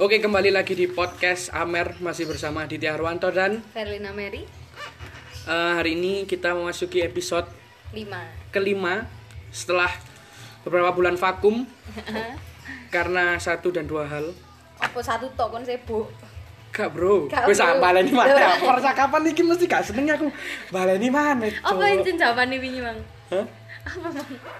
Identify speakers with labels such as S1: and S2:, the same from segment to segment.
S1: Oke, kembali lagi di podcast Amer masih bersama Aditya Arwanto dan
S2: Verlina Mary
S1: eh, hari ini kita memasuki episode
S2: 5
S1: kelima setelah beberapa bulan vakum karena satu dan dua hal.
S2: Apa satu tok kon sibuk?
S1: Kak bro,
S2: Gak,
S1: wis
S2: Bro.
S1: apa baleni mana?
S2: Loh.
S1: Percakapan iki mesti gak seneng aku. Baleni mana?
S2: Apa yang cen jawaban wingi, Mang?
S1: Hah?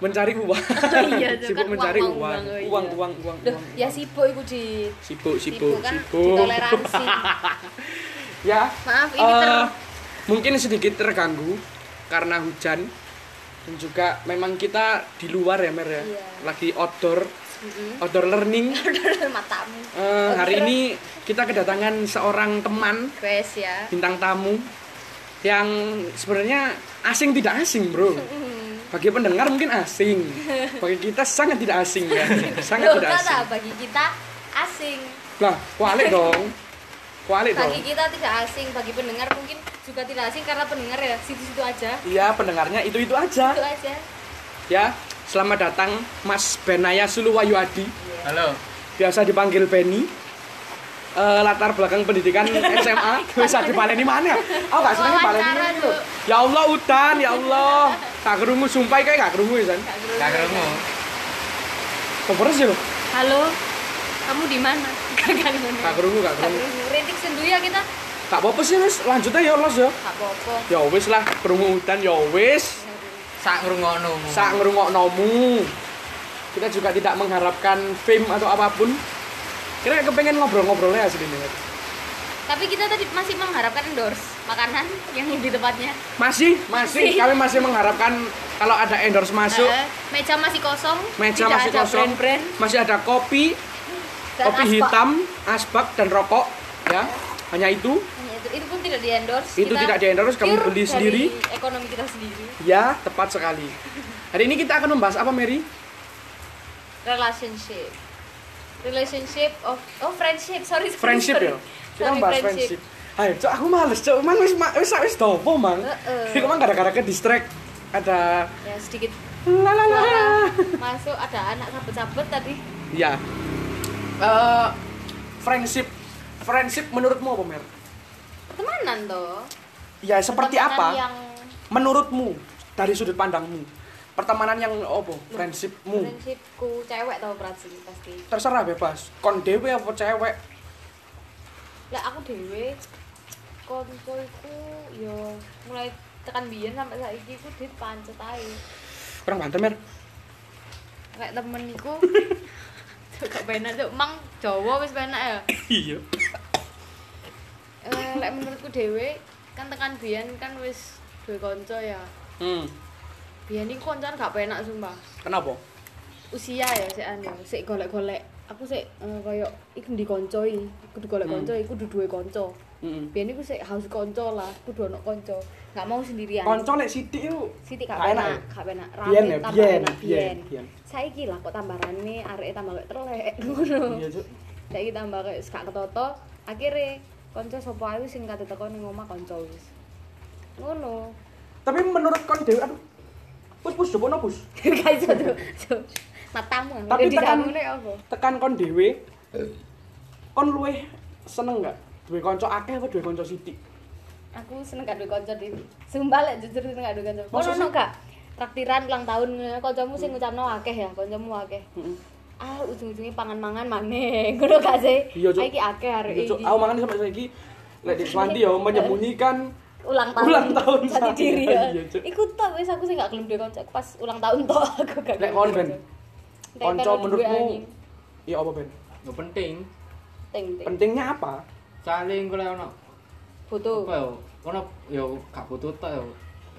S1: Mencari uang.
S2: Oh iya, itu
S1: sibuk
S2: kan
S1: mencari
S2: uang,
S1: uang.
S2: uang,
S1: Uang,
S2: uang, oh
S1: uang,
S2: iya.
S1: uang, uang.
S2: Duh, ya sibuk iku di
S1: Sibuk, sibuk,
S2: kan
S1: sibuk.
S2: ditoleransi.
S1: ya
S2: Maaf, ini
S1: eh,
S2: ter-
S1: mungkin sedikit terganggu karena hujan dan juga memang kita di luar ya mer ya
S2: Iya.
S1: lagi outdoor
S2: Mm-mm.
S1: outdoor learning
S2: Matamu.
S1: Eh, hari ini kita kedatangan seorang teman
S2: Wes ya.
S1: bintang tamu yang sebenarnya asing tidak asing bro bagi pendengar mungkin asing bagi kita sangat tidak asing ya sangat
S2: Loh,
S1: tidak asing
S2: kata bagi kita asing.
S1: lah kualik dong kualik dong
S2: Bagi kita tidak asing, bagi pendengar mungkin juga tidak asing karena pendengar ya situ-situ aja.
S1: iya pendengarnya itu itu aja
S2: Itu aja.
S1: Ya, selamat datang Mas Benaya Suluwayu Adi,
S3: Halo,
S1: biasa dipanggil Beni. Eh, latar belakang pendidikan SMA bisa dipaleni mana? Aku gak seneng
S2: Wawancara,
S1: dipaleni itu.
S2: Cuk.
S1: Ya Allah udan, ya Allah. Tak kerungu sumpah kayak gak kerungu ya, San.
S2: Gak ngerti.
S3: gak kerungu.
S1: Keperes ya lho.
S2: Halo. Kamu di mana? Gak ngono.
S1: Gak kerungu, gak
S2: Gak
S1: kerungu.
S2: ngerti. Rintik sendu ya kita.
S1: Gak apa-apa sih, Mas. Lanjut aja ya, Los ya.
S2: Gak apa-apa.
S1: Ya wis lah, kerungu udan ya wis.
S3: Sak ngrungokno.
S1: Sak ngrungoknomu. Kita juga tidak mengharapkan fame atau apapun. Kira kepengen ngobrol-ngobrolnya asli ini. Mas.
S2: Tapi kita tadi masih mengharapkan endorse makanan yang di tempatnya.
S1: Masih, masih.
S2: Masih.
S1: Kami masih mengharapkan kalau ada endorse masuk,
S2: Eh, meja masih kosong.
S1: meja
S2: tidak
S1: masih
S2: ada
S1: kosong,
S2: Brand-brand
S1: masih ada kopi,
S2: dan
S1: kopi
S2: asbak.
S1: hitam, asbak dan rokok, ya. Hanya itu,
S2: Ya, Itu, itu pun tidak di endorse.
S1: Itu tidak di-endorse, kamu beli sendiri.
S2: Ekonomi kita sendiri.
S1: ya tepat sekali. Hari ini kita akan membahas apa, Mary?
S2: Relationship. Relationship of oh friendship, sorry. sorry,
S1: Friendship
S2: sorry.
S1: ya. Kita
S2: Sorry,
S1: membahas friendship. Ayo, cok, aku males, cok. Man, wis, ma- wis, wis, dopo, mang.
S2: Heeh.
S1: Ini kemang gara-gara ke distract. Ada
S2: Ya sedikit
S1: la la la.
S2: suara masuk ada anak sabet-sabet tadi.
S1: Ya. Eh, friendship, friendship menurutmu apa, Mer?
S2: Pertemanan toh.
S1: Ya, seperti apa?
S2: Pertemanan Yang
S1: menurutmu dari sudut pandangmu pertemanan yang opo friendshipmu
S2: friendshipku cewek toh berarti pasti.
S1: terserah bebas kon dewe apa cewek
S2: lah aku dewe konco iku yo mulai tekan biyen sampai saiki iku dit pancet ae
S1: kurang banter mer
S2: kayak temen iku Cuk, gak benar tuh mang Jawa wis penak ya
S1: iya
S2: Eh, lek menurutku dewe kan tekan biyen kan wis duwe konco ya
S1: hmm
S2: biyen iku koncoan gak penak sumpah
S1: kenapa
S2: usia ya sik anu sik golek-golek aku sik eh, koyo iku ndi koncoi kudu golek
S1: Hmm.
S2: konco iku kudu duwe konco
S1: hmm
S2: biyen iku sik haus konco lah kudu ono konco gak mau sendirian
S1: konco lek sithik yo
S2: Siti gak
S1: Gak enak
S2: enak,
S1: ya?
S2: gak enak.
S1: Biyen ya,
S2: tambah
S1: biyen,
S2: enak,
S1: biyen,
S2: biyen.
S1: biyen.
S2: Saiki lah kok tambarane areke tambah kayak telek ngono.
S1: iya cuk
S2: Saiki tambah kayak wis gak ketoto, akhire kanca sapa ae wis sing kate teko ning omah kanca wis. Ngono.
S1: tapi menurut kon dewe aduh pus pus jopo no pus
S2: Gak iso tuh. Cuk. Matamu kan
S1: Tapi
S2: udah
S1: tekan-
S2: ditamune apa?
S1: tekan kon dewe kon luweh seneng nggak duwe konco akeh apa duwe konco sithik
S2: Aku seneng gak duwe kanca di. Sumpah lek jujur seneng gak duwe kanca.
S1: Masa
S2: Ono ono
S1: sih?
S2: gak? Traktiran ulang tahun ngono, kancamu
S1: Hmm.
S2: sing ngucapno akeh ya, kancamu akeh.
S1: Heeh.
S2: Ah, ujung-ujungnya pangan-mangan maneh. Ngono gak sih?
S1: Iya, Cuk.
S2: Iki akeh arek
S1: iya cuk
S2: iki.
S1: aku mangan sampai saiki lek di Swanti yo menyembunyikan
S2: ulang tahun
S1: Ulang tahun
S2: jati
S1: saya.
S2: diri ya
S1: Iya, Cuk.
S2: iku tok wis aku sih gak gelem duwe kanca Aku pas ulang tahun tok aku gak
S1: Lek
S2: gelem
S1: kon
S2: duwe
S1: ben
S2: Lek
S1: konco
S2: kon duwe anjing.
S1: menurutmu ya apa ben
S3: Yo penting.
S2: ting ting
S1: pentingnya apa
S3: Saling golek ono
S2: foto
S3: apa yo? Ono yo gak butuh tok yo.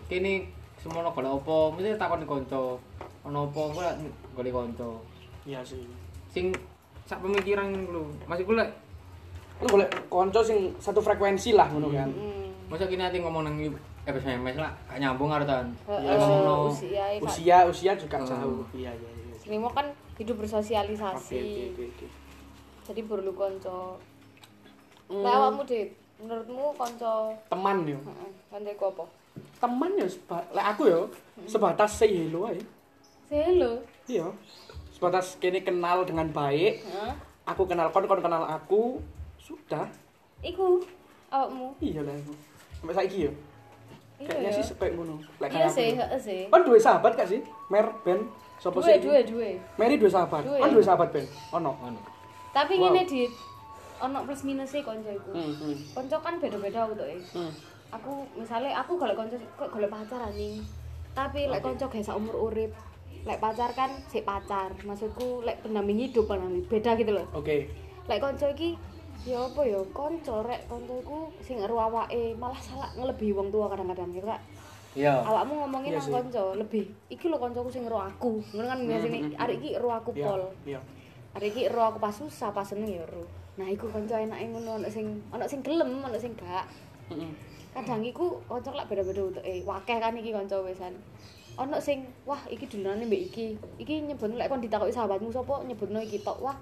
S3: Kene semono golek apa? Mesti takon kanca. Ono apa golek golek kanca.
S1: iya sih
S3: Sing sak pemikiran lu. Masih golek.
S1: lu boleh konco sing satu frekuensi lah ngono kan
S2: Hmm.
S3: Masa kini ati ngomong nang SMS lah gak nyambung karo tan.
S2: Heeh,
S3: Ya ngono.
S2: usia ya, Kak.
S1: usia usia juga
S3: Oh.
S1: jauh iya iya iya
S2: Ini mau kan
S1: oke
S2: hidup
S1: oke
S2: bersosialisasi
S1: oke, oke
S2: jadi perlu kanca
S1: Hmm.
S2: lek awakmu dit menurutmu kanca
S1: teman yo
S2: heeh kanca iku apa
S1: teman yo seba- lek aku yo
S2: Hmm.
S1: sebatas say hello ae
S2: Say hello
S1: iya sebatas kini kenal dengan baik
S2: heeh
S1: aku kenal kon kon kenal aku sudah
S2: Iku awakmu.
S1: iya lah aku sampai saiki ya
S2: Iya
S1: kayaknya
S2: ya.
S1: sih kayak ngono Lek
S2: Iya
S1: kayak aku
S2: sih,
S1: ya.
S2: heeh sih.
S1: kon dua sahabat gak sih mer ben sapa
S2: Duwe,
S1: sih
S2: duwe, duwe.
S1: Mary dua sahabat
S2: Duwe.
S1: kon dua sahabat ben ono
S3: ngono
S2: Tapi
S1: Wow.
S2: ngene Dit. Ono plus minus sih konco iku.
S1: hmm, hmm,
S2: Konco kan beda-beda aku tuh. eh.
S1: hmm.
S2: Aku misalnya aku golek konco kok golek pacar anjing. Tapi lek konco gak umur urip. Lek pacar kan sik pacar. Maksudku lek pendamping hidup pendamping beda gitu loh.
S1: oke Iya,
S2: Lek konco iki ya apa ya konco rek konco iku sing ngeru awake malah salah ngelebihi wong tua kadang-kadang gitu Kak.
S3: iya
S2: awakmu ngomongin
S1: Ah. Iya
S2: nang
S1: sih. Hmm,
S2: konco lebih iki lho koncoku sing ro aku ngono kan biasa ini arek iki ro aku
S1: iya
S2: pol
S1: iya
S2: arek iki ro aku pas susah pas seneng ya ro nah iku konco enake ngono ono sing ono sing gelem ono sing gak
S1: Mm-mm.
S2: kadang iku konco lak beda-beda untuk eh wakeh kan iki konco wesan ono sing wah iki dulurane mbek iki iki nyebutno lek kon ditakoki sahabatmu sapa nyebutno iki tok wah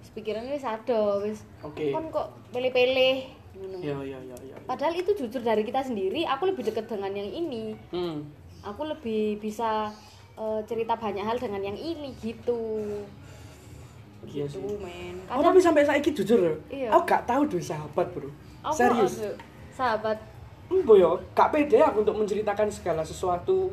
S2: wis pikirane wis ado wis
S1: oke
S2: kon kok pilih-pilih ngono
S1: iya iya iya iya
S2: padahal itu jujur dari kita sendiri aku lebih deket dengan yang ini
S1: hmm.
S2: aku lebih bisa eh, cerita banyak hal dengan yang ini gitu
S1: Iya
S2: gitu
S1: sih.
S2: men
S1: Oh,
S2: kadang
S1: tapi sampai saiki jujur ya.
S2: Iya.
S1: Aku gak tahu dua sahabat, Bro.
S2: aku
S1: Serius.
S2: aduh, sahabat
S1: Embo yo, gak pede aku untuk menceritakan segala sesuatu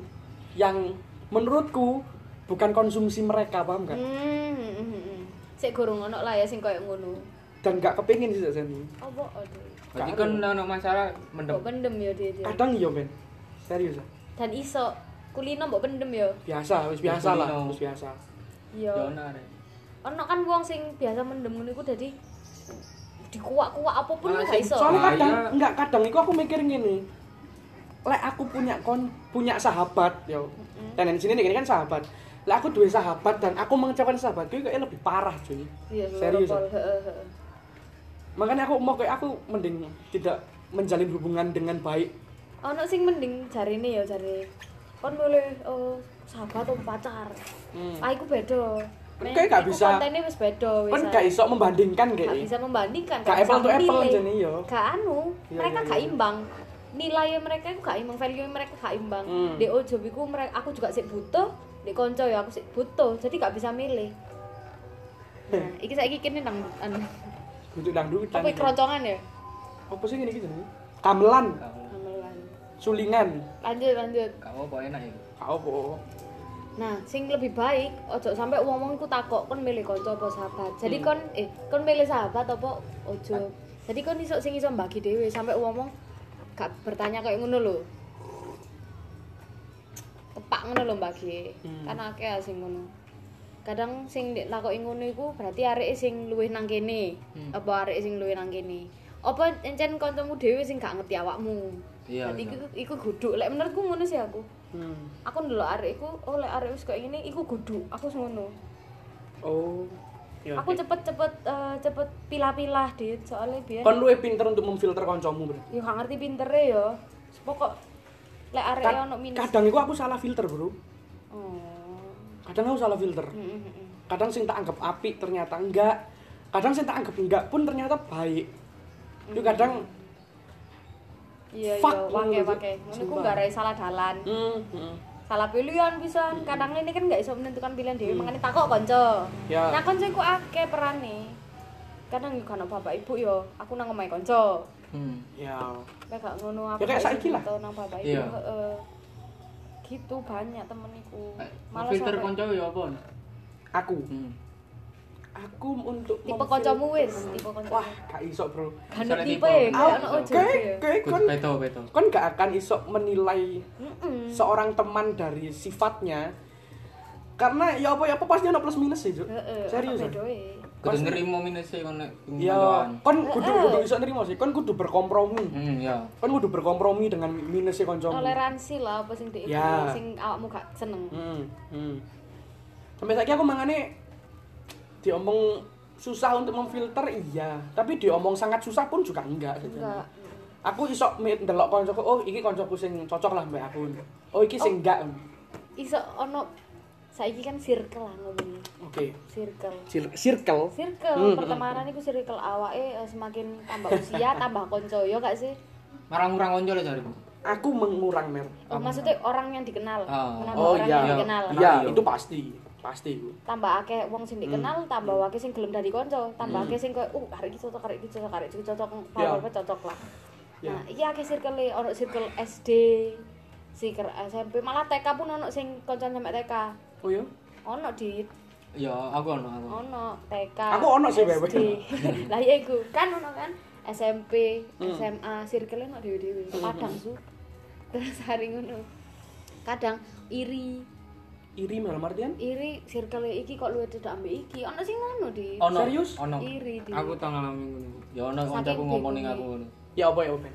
S1: yang menurutku bukan konsumsi mereka, paham gak?
S2: hmm hmm, hmm, hmm. sik gorong ono lah ya sing koyo ngono
S1: Dan gak kepingin sih Zazen.
S2: apa aduh
S3: berarti kan ono masalah mendem
S2: mbok pendem ya dia, dia.
S1: Kadang yo, men. Serius ah.
S2: dan iso kulino mbok pendem ya
S1: Biasa, wis biasa lah,
S3: Kulino.
S1: wis biasa.
S2: iya
S3: ya ono arek
S2: ono kan wong sing biasa mendem ngono iku dadi dikuak-kuak apapun
S3: Malah
S2: gak
S3: sing-
S2: iso
S1: Soalnya
S3: Bahaya.
S1: kadang enggak kadang itu aku mikir gini. Lek aku punya kon punya sahabat yo. Dan di sini ini kan sahabat. Lek aku dua sahabat dan aku mengecewakan sahabatku kayaknya lebih parah, cuy.
S2: iya
S1: Serius,
S2: lho, pol. Heeh, heeh.
S1: makanya aku mau kayak aku mending tidak menjalin hubungan dengan baik
S2: ono sing mending jarine ya jare kon mulai oh, sahabat atau pacar
S1: Hmm.
S2: ah iku beda
S1: Kan kayak gak
S2: iku
S1: bisa-
S2: kontennya wis beda wis
S1: kan gak iso membandingkan
S2: gak
S1: Iya. kayak
S2: bisa membandingkan
S1: Gak
S2: bisa
S1: apple to apple
S2: menilai.
S1: jane yo.
S2: gak anu
S1: Iya,
S2: mereka
S1: iya,
S2: gak
S1: iya.
S2: imbang nilai mereka iku gak imbang value mereka gak imbang
S1: Hmm.
S2: di ojo iku mereka aku juga sik butuh di konco ya aku sik butuh jadi gak bisa milih nah iki saiki kene nang anu
S1: untuk dangdutan gitu.
S2: apa keroncongan ya
S1: apa sih gini gini kamelan
S3: kau
S2: Gamelan.
S1: sulingan
S2: lanjut lanjut
S3: kau apa enak itu
S1: kau po
S2: Nah, sing lebih baik ojo sampai wong-wong ku takok kon milih kanca apa sahabat. Jadi
S3: Hmm.
S2: kon eh kon milih sahabat apa ojo. Jadi kon iso sing iso bagi dhewe sampai wong-wong gak bertanya kayak ngono lho. Tepak ngono lho bagi.
S1: Hmm.
S2: Kan akeh ya sing ngono. Kadang sing nek takoki ngono iku berarti areke sing luwih nang kene.
S3: Hmm.
S2: Apa areke sing luwih nang kene. Apa encen kancamu dhewe sing gak ngerti awakmu.
S3: Iya,
S2: Berarti
S3: iya.
S2: iku iku guduk. Lek menurutku ngono sih aku
S1: hmm.
S2: aku ndelok arek iku oh lek arek wis koyo ngene iku gudu aku wis ngono
S1: oh ya
S2: aku cepet-cepet eh, cepet pilah-pilah dit soalnya biar
S1: kon lu pinter untuk memfilter koncomu bro
S2: yo gak ngerti pintere yo pokok lek arek
S1: Ka-
S2: ono minus
S1: kadang itu aku salah filter bro
S2: oh
S1: kadang aku salah filter
S2: Mm, mm, mm.
S1: kadang sing tak anggap api ternyata enggak kadang sing tak anggap enggak pun ternyata baik itu kadang
S2: iya
S1: Fuck,
S2: yo
S1: ngono
S2: wake
S1: lho,
S2: wake ngono ku
S1: sumpah.
S2: gak ada salah dalan
S1: hmm, hmm.
S2: salah pilihan bisa
S1: Mm.
S2: kadang ini kan gak iso menentukan pilihan dhewe makanya takok konco
S1: Ya.
S2: nah konco iku akeh perane kadang yo kan bapak ibu yo aku nang omahe konco
S3: hmm
S1: ya
S2: Kayak gak ngono aku.
S1: Ya kayak
S2: gak
S1: saiki
S2: iso
S1: lah.
S2: tau nang bapak ibu.
S3: Iya.
S2: heeh. gitu banyak temen iku. Malah
S3: filter
S2: sampai-
S3: Eh, konco ya apa
S1: aku
S3: hmm
S1: aku untuk
S2: tipe
S1: memfilter-
S2: kancamu wis, tipe kancamu.
S1: Wah, gak iso, Bro.
S2: Kan
S3: Soalnya
S2: tipe
S3: tipe.
S2: ya,
S3: Iya,
S1: Aku
S2: kayak ono
S3: iya.
S2: ojo
S1: kayak-
S2: ya.
S1: kayak Eh, kon
S3: beto beto
S1: kon gak akan iso menilai
S2: Heeh.
S1: seorang teman dari sifatnya. Karena ya apa ya apa pasti ono plus minus sih, Juk.
S2: Heeh. ya.
S1: Serius.
S2: ono
S1: Juk.
S2: bedoe.
S3: kudu nerimo minusnya kon nek
S1: Ya,
S3: pengetahuan.
S1: kon kudu kudu iso nerimo sih, kon kudu berkompromi.
S3: hmm ya
S1: Kon kudu berkompromi dengan minusnya kancamu.
S2: Toleransi lah apa sing dhewe
S1: Ya.
S2: sing awakmu gak seneng.
S1: Hmm, hmm. Sampai saiki aku mangane diomong susah untuk memfilter iya, tapi diomong sangat susah pun juga enggak.
S2: Enggak.
S1: aku iso mi- ndelok koncoku oh iki koncoku sing cocok lah mbak aku oh iki sing enggak
S2: Iso ono saiki kan circle lah ngomongnya.
S1: oke
S2: Circle.
S1: circle Hmm,
S2: Circle pertemanan iku circle awake eh, semakin tambah usia tambah konco ya gak sih?
S3: marang-marang konco lah cari
S1: aku mengurang mer
S2: Oh, maksudnya orang yang dikenal,
S3: Ah.
S2: menambah
S1: oh
S2: orang yang
S1: iya
S2: dikenal.
S1: iya
S3: Iya.
S1: itu pasti pasti iku.
S2: tambah akeh wong
S1: Hmm.
S2: sing dikenal tambah akeh sing gelem dadi kanca tambah akeh sing koyo uh karek iki cocok karek iki cocok karek iki cocok
S1: Ya.
S2: apa cocok lah
S1: Ya.
S2: nah iya akeh circle ono circle SD circle SMP malah TK pun ono sing kanca sampe TK
S1: Oh iya.
S2: ono di
S3: Ya, aku ono aku.
S1: Oh,
S2: ono TK
S1: Aku ono sih, Beb.
S2: SD. lah iya iku kan ono kan SMP
S1: Hmm.
S2: SMA circle ono dhewe-dhewe padang su terus hari ngono kadang iri
S1: Iri dalam artian
S2: iri circle iki kok luwih cedak ambek iki ono sing ngono di
S3: Ono.
S1: Serius?
S3: Ono.
S2: Iri, Dik.
S3: Aku tau ngalami ngono. Ya ono
S2: Saking
S3: kancaku ngomong ning
S2: bingungnya.
S3: aku ngono.
S1: ya apa ya apa.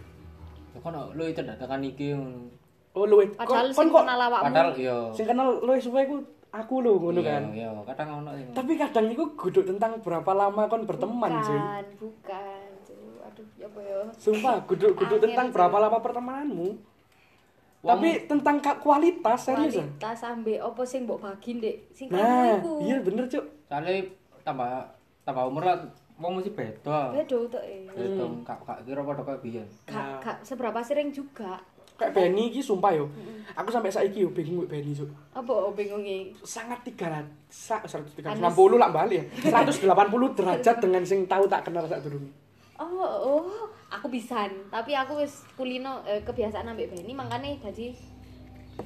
S3: Ya kono lu itu dadakan iki ngono.
S1: Oh luwe.
S2: padahal
S1: kon-
S2: sing
S1: kon kok
S2: kenal awakmu
S3: Padahal ya.
S1: sing kenal luwe suwe ku aku lho ngono
S3: Iya,
S1: kan.
S3: Iya, kadang ono sing.
S1: Tapi kadang iku guduk tentang berapa lama kon berteman sih.
S2: bukan bukan Cuk. aduh ya apa ya
S1: Sumpah, guduk-guduk
S2: Angin,
S1: tentang
S2: Cuk.
S1: berapa lama pertemananmu. Tapi tentang ka- kualitas serius. ya?
S2: kualitas ambek opo sing mbok bagi ndek sing kamu
S1: Nah,
S2: iku
S1: iya bener, Cuk.
S3: Soale tambah tambah umur lah wong mesti beda.
S2: bedo tok e
S3: Beda kak kak kira padha kaya biyen.
S2: gak
S1: Nah.
S2: gak seberapa sering juga
S1: Kayak Benny iki sumpah yo. Aku sampai saiki yo bingung mbek Benny, Cuk.
S2: apa oh, e? bingungi
S1: Sangat 300 sa- 160 lah balik ya. 180 derajat dengan sing tahu tak kenal sak durunge.
S2: oh oh aku bisan tapi aku wis kulino eh, kebiasaan ambek Benny makane dadi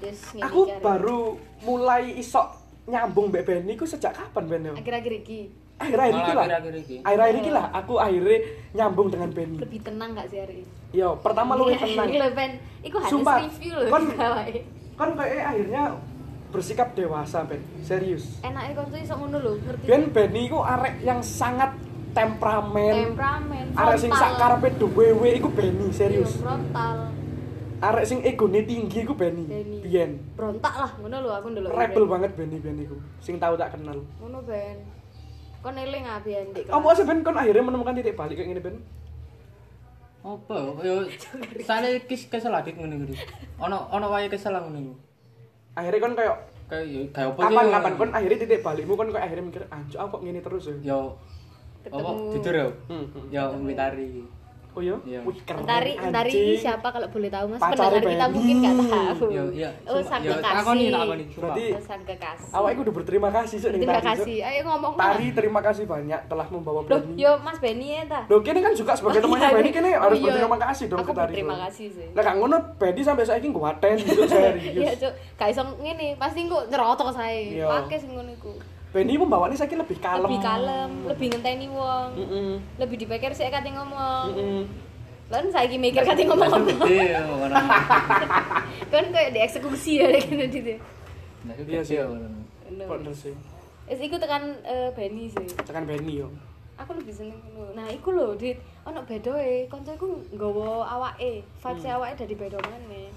S2: wis ngene
S1: Aku
S2: iki arek.
S1: baru mulai isok nyambung mbek Benny ku sejak kapan Ben yo?
S2: akhir-akhir iki
S1: Akhir-akhir iki
S3: Malah
S1: lah.
S3: akhir-akhir iki.
S1: Akhir-akhir iki lah aku akhirnya nyambung dengan Benny.
S2: lebih tenang gak sih hari ini
S1: Yo, pertama Hmm. lu tenang.
S2: Iya, Ben. Iku harus
S1: Sumpah,
S2: review loh
S1: kon-
S2: gawe.
S1: kan kayak akhirnya bersikap dewasa Ben serius
S2: Enake kon tuh iso ngono lho, ngerti.
S1: Ben Benny iku arek yang sangat temperamen
S2: Temperamen,
S1: arek sing sak
S2: frontal.
S1: karepe duwewe iku Benny
S2: Iya,
S1: serius
S2: frontal.
S1: arek sing egone tinggi iku Benny
S2: Benny. iya,
S1: biyen
S2: Berontak lah ngono lho aku ndelok.
S1: rebel banget Benny Ben iku sing tau tak kenal
S2: Ngono Ben. Kon eling ah biyen dik.
S1: apa sih Ben kon akhirnya menemukan titik balik kayak gini Ben
S3: Apa yo soale kis kesel adik ngene iki. Ono ono wae kesel ngono iki.
S1: akhirnya kon kayak
S3: Kayak yo kayak apa sih?
S1: kapan kapan kon akhirnya titik balikmu kon kayak akhirnya mikir anjuk aku kok gini terus ya
S3: Yo apa
S2: Ketemu.
S3: jujur yo.
S1: Hmm, hmm.
S3: Yo Mitari.
S1: oh iya
S3: Iya.
S1: wih keren
S2: Entari, entari ini
S1: anjing.
S2: siapa kalau boleh tahu Mas?
S1: Pacare
S2: Pendengar kita
S1: Benny.
S2: mungkin gak tahu.
S3: Yo iya.
S2: Oh,
S3: sumpah.
S2: sang
S3: Yo, Takoni
S2: kekasih.
S3: takoni. sumpah.
S1: Berarti-
S2: Oh, sang kekasih.
S1: awak iku udah berterima kasih Cuk, ning
S2: Terima
S1: Tari, Cuk.
S2: kasih. Ayo ngomong.
S1: Tari terima kasih banyak telah membawa
S2: Oh, iya. Loh,
S1: Benny
S2: yo Mas Benny ya ta.
S1: Loh, kene kan juga sebagai
S2: Oh,
S1: temannya
S2: iya,
S1: Benny kene
S2: iya.
S1: harus
S2: Oh, iya.
S1: berterima kasih dong
S2: Aku
S1: ke Tari.
S2: berterima kasih sih.
S1: Lah gak ngono Benny sampai saiki nguaten gitu
S2: Iya,
S1: serius.
S2: Cuk. Gak iso ngene, pasti engko nyerotok sae.
S1: Iya.
S2: Pakai sing ngono iku.
S1: Benny membawaannya saiki lebih kalem.
S2: Lebih kalem, lebih ngenteni wong.
S1: Heeh.
S2: Lebih dipikir sik kate ngomong.
S1: Heeh.
S2: Lan saiki mikir kate ngomong
S3: Langsung
S2: apa.
S3: gede yo, orang.
S2: Kan kayak dieksekusi ya kene gitu.
S3: Langsung
S1: Iya
S3: gede,
S1: sih.
S3: yo, orang.
S1: Kok terus sih?
S2: Wis iku tekan eh, Benny sih.
S1: Tekan Benny yo.
S2: Aku lebih seneng ngono. Nah, iku lho, Dit. Ono bedoe, kanca iku nggawa awake. Vibes awake dari bedo maneh.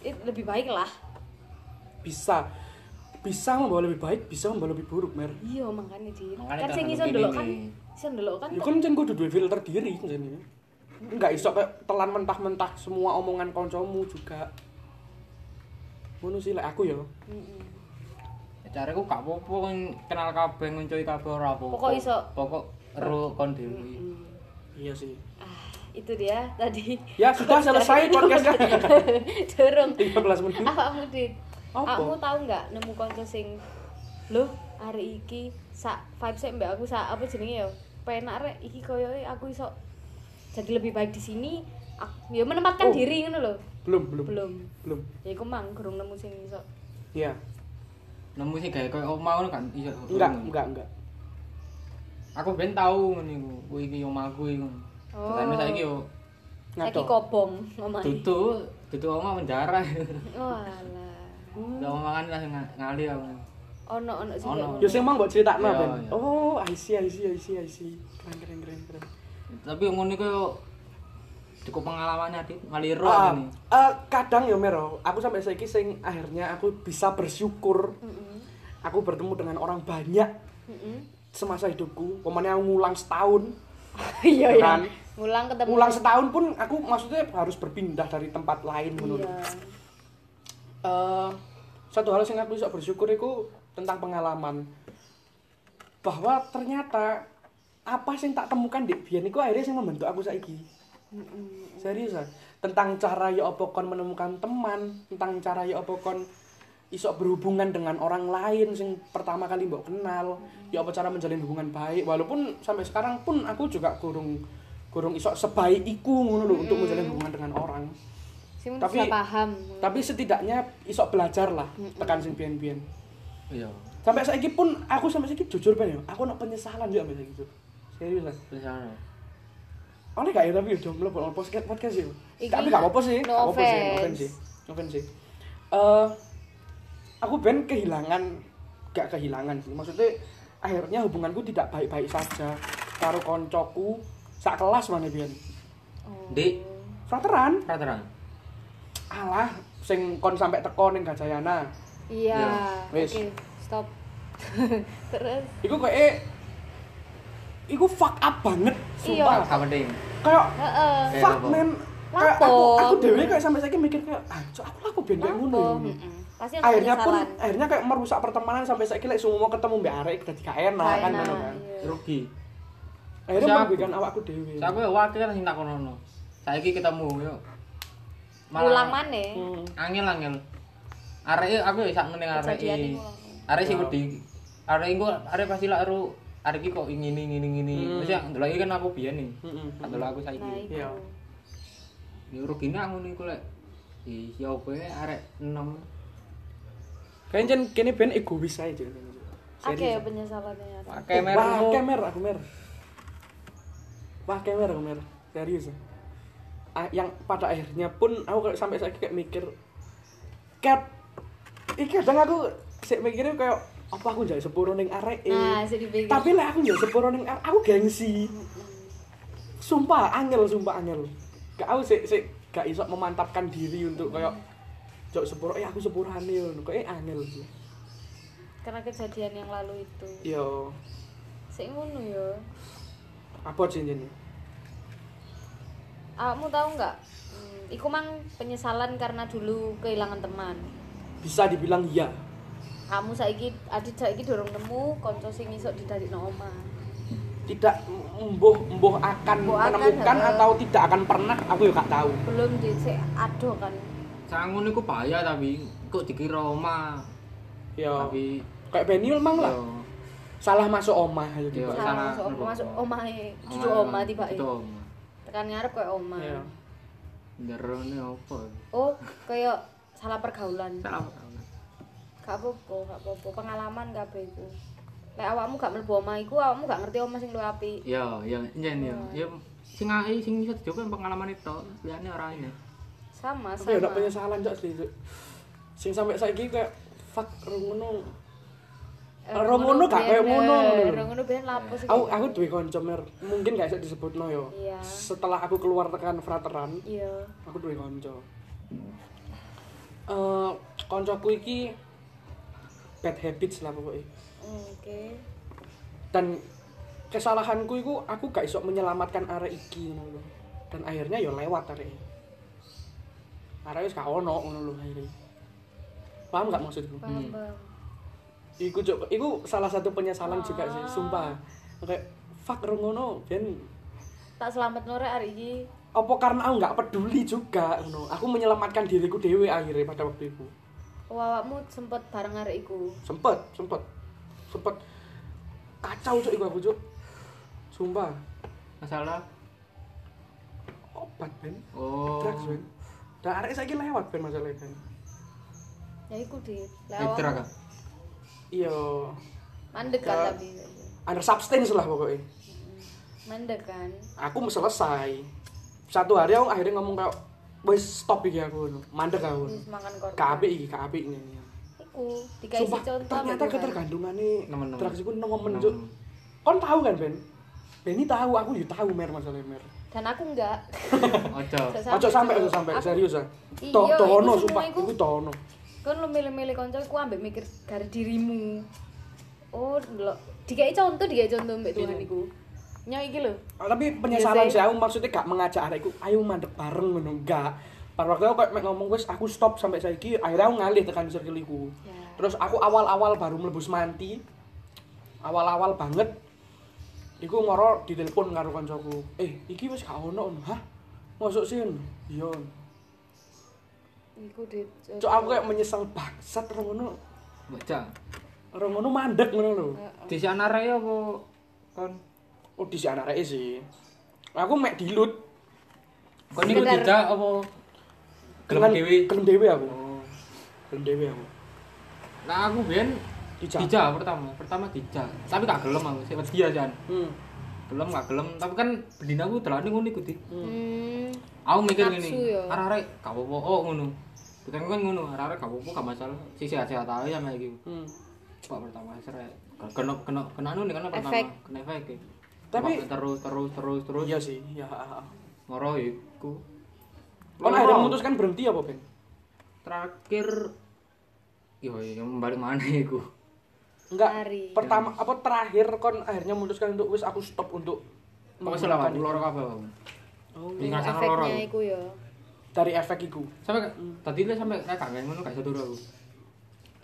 S2: It lebih baik lah.
S1: Bisa bisa membawa lebih baik, bisa membawa lebih buruk, Mer.
S2: Iya, makane Dit.
S3: Makane
S2: Kan
S3: tak
S2: sing
S3: ngerti
S2: iso ndelok kan,
S3: ini.
S2: iso ndelok kan.
S1: Ya kan jen kudu duwe filter diri jenenge. Enggak iso kayak telan mentah-mentah semua omongan kancamu juga. Ngono sih lek aku yo.
S2: Heeh.
S3: Cari ku gak apa-apa kan kenal kabeh nguncui kabeh ora apa-apa.
S2: Pokok iso.
S3: Pokok ro kon dhewe.
S1: Iya sih.
S2: Hmm. Ah, itu dia tadi.
S1: Ya sudah selesai podcastnya.
S2: Dorong.
S1: 13 menit.
S2: Awakmu Dit.
S1: Mhm. Apa?
S2: Awakmu tahu nggak nemu kanca sing lho hari iki sak vibe sik mbak aku sak apa jenenge ya? Penak rek iki koyoke aku iso jadi lebih baik di sini. Aku, ya menempatkan
S1: Oh.
S2: diri ngono lho.
S1: Belum, belum.
S2: Belum.
S1: Belum.
S2: Ya iku mang gerung nemu sing iso.
S1: Iya.
S3: Nemu sih kayak koyo omah ngono kan iso.
S1: Enggak, enggak, enggak.
S3: Aku ben tau ngono iku. Ku iki omahku iku.
S2: Oh.
S3: Tapi saiki yo
S1: Ngaco.
S2: Saiki kobong omahe.
S3: tutu, tutu omah penjara.
S2: Walah.
S3: Lah omahan lah ng- ngali aku.
S2: Ono ono sing
S3: Ono.
S2: kayak ngono.
S1: Yo sing mang mbok critakno
S3: Iya,
S1: ben.
S3: iya.
S1: Oh, I see, I see, I see, I see. Keren, keren, keren, keren.
S3: Tapi ngono iku yo cukup pengalamannya Dit, ngali ro
S1: Ah,
S3: ini.
S1: eh, kadang yo Mero, aku sampai saiki sing akhirnya aku bisa bersyukur
S2: Heeh.
S1: aku bertemu dengan orang banyak
S2: Heeh.
S1: semasa hidupku. Pemane aku ngulang setahun.
S2: Iya ya.
S1: Kan.
S2: Ngulang ketemu.
S1: Ngulang setahun pun aku maksudnya harus berpindah dari tempat lain menurut.
S2: Iya.
S1: Eh, satu hal yang aku bisa bersyukur itu tentang pengalaman bahwa ternyata apa sing tak temukan di biyen iku akhirnya sing membentuk aku saiki
S2: Heeh.
S1: seriusan tentang cara ya apa kon menemukan teman tentang cara ya apa kon iso berhubungan dengan orang lain sing pertama kali mbok kenal ya apa cara menjalin hubungan baik walaupun sampai sekarang pun aku juga kurung kurung iso sebaik iku ngono lho untuk menjalin hubungan dengan orang
S2: sing
S1: Tapi-
S2: bisa paham
S1: tapi setidaknya iso belajar lah tekan sing biyen-biyen
S3: iya
S1: sampai saiki pun aku sampai saiki jujur ben ya aku nak penyesalan juga sampai saiki Jur. serius lah
S3: misalnya
S1: oleh gak ya tapi udah mlebu ono podcast podcast sih
S2: Iki-
S1: tapi gak apa-apa sih
S2: no
S1: gak apa-apa sih
S2: offense.
S1: no offense sih No offense sih Eh, aku ben kehilangan gak kehilangan sih maksudnya akhirnya hubunganku tidak baik-baik saja karo koncoku sak kelas mana biyen
S2: Oh.
S3: di
S1: frateran
S3: prateran
S1: alah sing kon sampai teko ning Gajayana
S2: iya
S3: Ya,
S2: oke
S1: wis.
S2: stop terus
S1: iku kayaknya iku fuck up banget
S2: Iya.
S1: sumpah
S3: gak penting
S1: kayak
S2: heeh
S3: Eh,
S1: fuck
S3: apa?
S1: man
S2: Lapo?
S1: kayak aku aku dewe kayak sampai saiki mikir kayak ah cok, aku laku ben kayak ngono
S2: Lapo?
S1: ya, ngono.
S2: Mm-mm. pasti ada
S1: akhirnya pun
S2: penyesalan
S1: akhirnya kayak merusak pertemanan sampai saiki lek semua ketemu mbak arek dadi gak enak kan ngono kan
S3: rugi
S1: akhirnya
S3: Siapa?
S1: merugikan awakku dewe
S3: Siapa ya wakil kan sing takonono. Saiki ketemu yo.
S2: ulang maneh
S1: Hmm.
S3: Angel angel. Arek aku ya sak meneng arek.
S2: Kejadian
S3: iki.
S2: iku.
S3: Arek sing wedi. Arek iku arek pasti lak ero arek iki kok ngini ngini ngini.
S1: Hmm.
S3: Wis ya ndelok iki kan aku biyen nih.
S1: Mm-mm.
S3: Ndelok aku
S2: nah
S3: saiki.
S2: itu
S1: Iya.
S3: Yo rugine aku niku lek Ih, ya opo ya arek 6.
S1: kayaknya jen kene ben egois ae jen
S2: oke penyesalannya
S1: wah
S3: Pakai mermu.
S1: Oh, kemer aku mer wah kemer aku mer serius Ah, yang pada akhirnya pun aku kayak sampai saiki kayak mikir cat iki kadang aku sik mikirnya kayak apa aku jadi sepuro ning arek e?"
S2: nah sedih pikir
S1: tapi lah aku nggak sepuro ning ar- aku gengsi sumpah angel sumpah angel gak aku sih sih gak iso memantapkan diri untuk kayak jok sepuro eh aku sepurane yo kayak eh, angel sih
S2: karena kejadian yang lalu itu
S1: yo
S2: sing ngono yo
S1: abot sih ini
S2: kamu tahu nggak hmm, iku mang penyesalan karena dulu kehilangan teman
S1: bisa dibilang iya
S2: kamu saiki adit saiki dorong nemu konco sing iso didadekno omah
S1: tidak mbuh mbuh akan
S2: Mbuh akan, ya.
S1: menemukan
S2: heeh.
S1: atau tidak akan pernah aku juga gak tahu
S2: belum dhisik ado kan
S3: Sangun niku bahaya tapi kok dikira omah.
S1: yo
S3: Tapi
S1: kayak Benny memang lah
S3: yo
S1: salah masuk omah ya, gitu. ayo
S3: Yo.
S1: tiba.
S3: Salah,
S2: salah masuk
S3: ngepo.
S2: omah masuk omahe duduk omah tiba
S3: Duduk omah.
S2: tekan ngarep koyo omah
S1: Iya.
S3: Nderone opo?
S2: oh koyo salah pergaulan
S3: Salah apa?
S2: gak apa-apa gak apa-apa pengalaman kabeh iku lek awakmu gak mlebu omah iku awakmu gak ngerti omah sing luwih apik
S3: Ya, ya, njen ya. Ya sing ae sing iso dicoba pengalaman itu, liyane ora ini.
S2: sama
S1: Tapi ya udah
S2: sama
S1: penyesalan cok sih. Cok. Sing sampai saiki kayak fuck rungono.
S2: Eh,
S1: Romono gak kayak ngono ngono lho.
S2: Romono eh, ben lapo sih.
S1: Aku aku duwe kanca mer, mungkin gak bisa disebutno yo.
S2: Iya.
S1: Setelah aku keluar tekan frateran,
S2: Iya.
S1: aku duwe kanca. Eh, kancaku iki bad habits lah pokoknya.
S2: Oke.
S1: Dan kesalahanku iku aku gak iso menyelamatkan arek iki ngono lho. Dan akhirnya yo lewat arek. Arek wis gak ono ngono lho akhirnya. Paham gak maksudku?
S2: Paham,
S3: Hmm.
S2: Bang.
S1: Iku cok, iku salah satu penyesalan juga sih, sumpah. Kayak fuck rungono, ben
S2: Tak selamat nore hari ini.
S1: apa karena aku nggak peduli juga, ngono. Aku menyelamatkan diriku dewe akhirnya pada waktu itu.
S2: Wawakmu sempet bareng hari iku.
S1: Sempet, sempet, sempet kacau cok iku aku cok. Sumpah,
S3: Masalah
S1: obat ben,
S3: oh.
S1: drugs ben. Dan arek saiki lewat ben masalahnya ben.
S2: Ya iku di.
S3: Hektra kan.
S1: Iya,
S2: Mandek kan
S1: Ya.
S2: tapi.
S1: under substance lah pokoknya.
S2: Mandek kan.
S1: Aku selesai. Satu hari aku akhirnya ngomong kayak, wes stop iki aku, ngono. mandek aku.
S2: Wis makan korban.
S1: Kabeh iki, kabeh ini.
S2: Iku dikasih
S1: Sumpah,
S2: contoh.
S1: ternyata
S2: beneran.
S1: ketergantungan nih
S3: Nemen-nemen.
S1: drugs itu nemen
S3: Nemen.
S1: cuk. Kon tahu kan Ben? Beni tahu, aku juga tahu mer masalahnya mer.
S2: Dan aku enggak.
S3: Ojo.
S1: Ojo sampai, ojo sampai,
S2: Aku-
S1: serius ah.
S2: Iya,
S1: Toh,
S2: itu
S1: tohono,
S2: semua
S1: sumpah,
S2: iku.
S1: itu tohono.
S2: kan lu milih-milih konco ku ambek mikir dari dirimu oh lo dikai contoh dikai contoh mbek Tuhan iku nyo iki lho
S1: Ah, Tapi penyesalan
S2: Iya sih.
S1: sih, aku maksudnya gak mengajak adekku, ayo mandek bareng ngono enggak. Pada waktu aku kayak mek ngomong wes aku stop sampai saiki, akhirnya aku ngalih tekan circle iku.
S2: Ya.
S1: Terus aku awal-awal baru mlebus manti. Awal-awal banget iku moro ditelepon karo kancaku. Eh, iki wis gak ono. Hah? Mosok sin? Iya.
S2: Iku dit.
S1: Cuk aku kayak menyesal bangsat ora ngono.
S3: Bocah.
S1: Ora ngono mandek ngono lho.
S2: Eh,
S3: Di sana raya e apa kon?
S1: Oh di sana rek sih. Aku mek dilut.
S3: Kon niku
S2: Sekedar-
S3: dijak apa? Gelem
S1: Dengan-
S3: dhewe.
S1: Gelem dhewe aku.
S3: Oh.
S1: Gelem dhewe aku.
S3: Nah aku biyen
S1: Dijak.
S3: dijak pertama, pertama dijak. Tapi gak gelem aku, sik wedi aja.
S1: Hmm.
S3: Gelem gak gelem, tapi kan bedina aku delane ngono iku di.
S2: Hmm.
S3: Aku mikir
S2: Nafsu
S3: ngene,
S2: ya.
S3: arek-arek gak apa-apa oh ngono. Bukan kan ngono, arek-arek gak apa-apa gak masalah. Sik sehat-sehat ae sama iki.
S1: Hmm.
S3: Coba pertama seret. Kena kena kena anu nih kena pertama.
S2: Efek.
S3: Kena efek. ya.
S1: Tapi-
S3: Coba terus terus terus terus
S1: Iya sih, ya. ha, ha.
S3: ngoro iku.
S1: Kon
S3: Ngoro.
S1: akhirnya memutuskan berhenti apa, Ben?
S3: terakhir yo yo balik mana iku.
S1: Enggak.
S2: Lari.
S1: Pertama apa terakhir kon akhirnya memutuskan untuk wis aku stop untuk
S3: Pokoke salah aku
S1: menggunakan
S3: loro kabeh aku.
S1: Oh.
S3: Ini ngrasakno loro.
S2: Efeknya iku ya.
S1: dari efek iku.
S3: Sampai tadi lu sampai kayak kangen ngono kayak satu aku.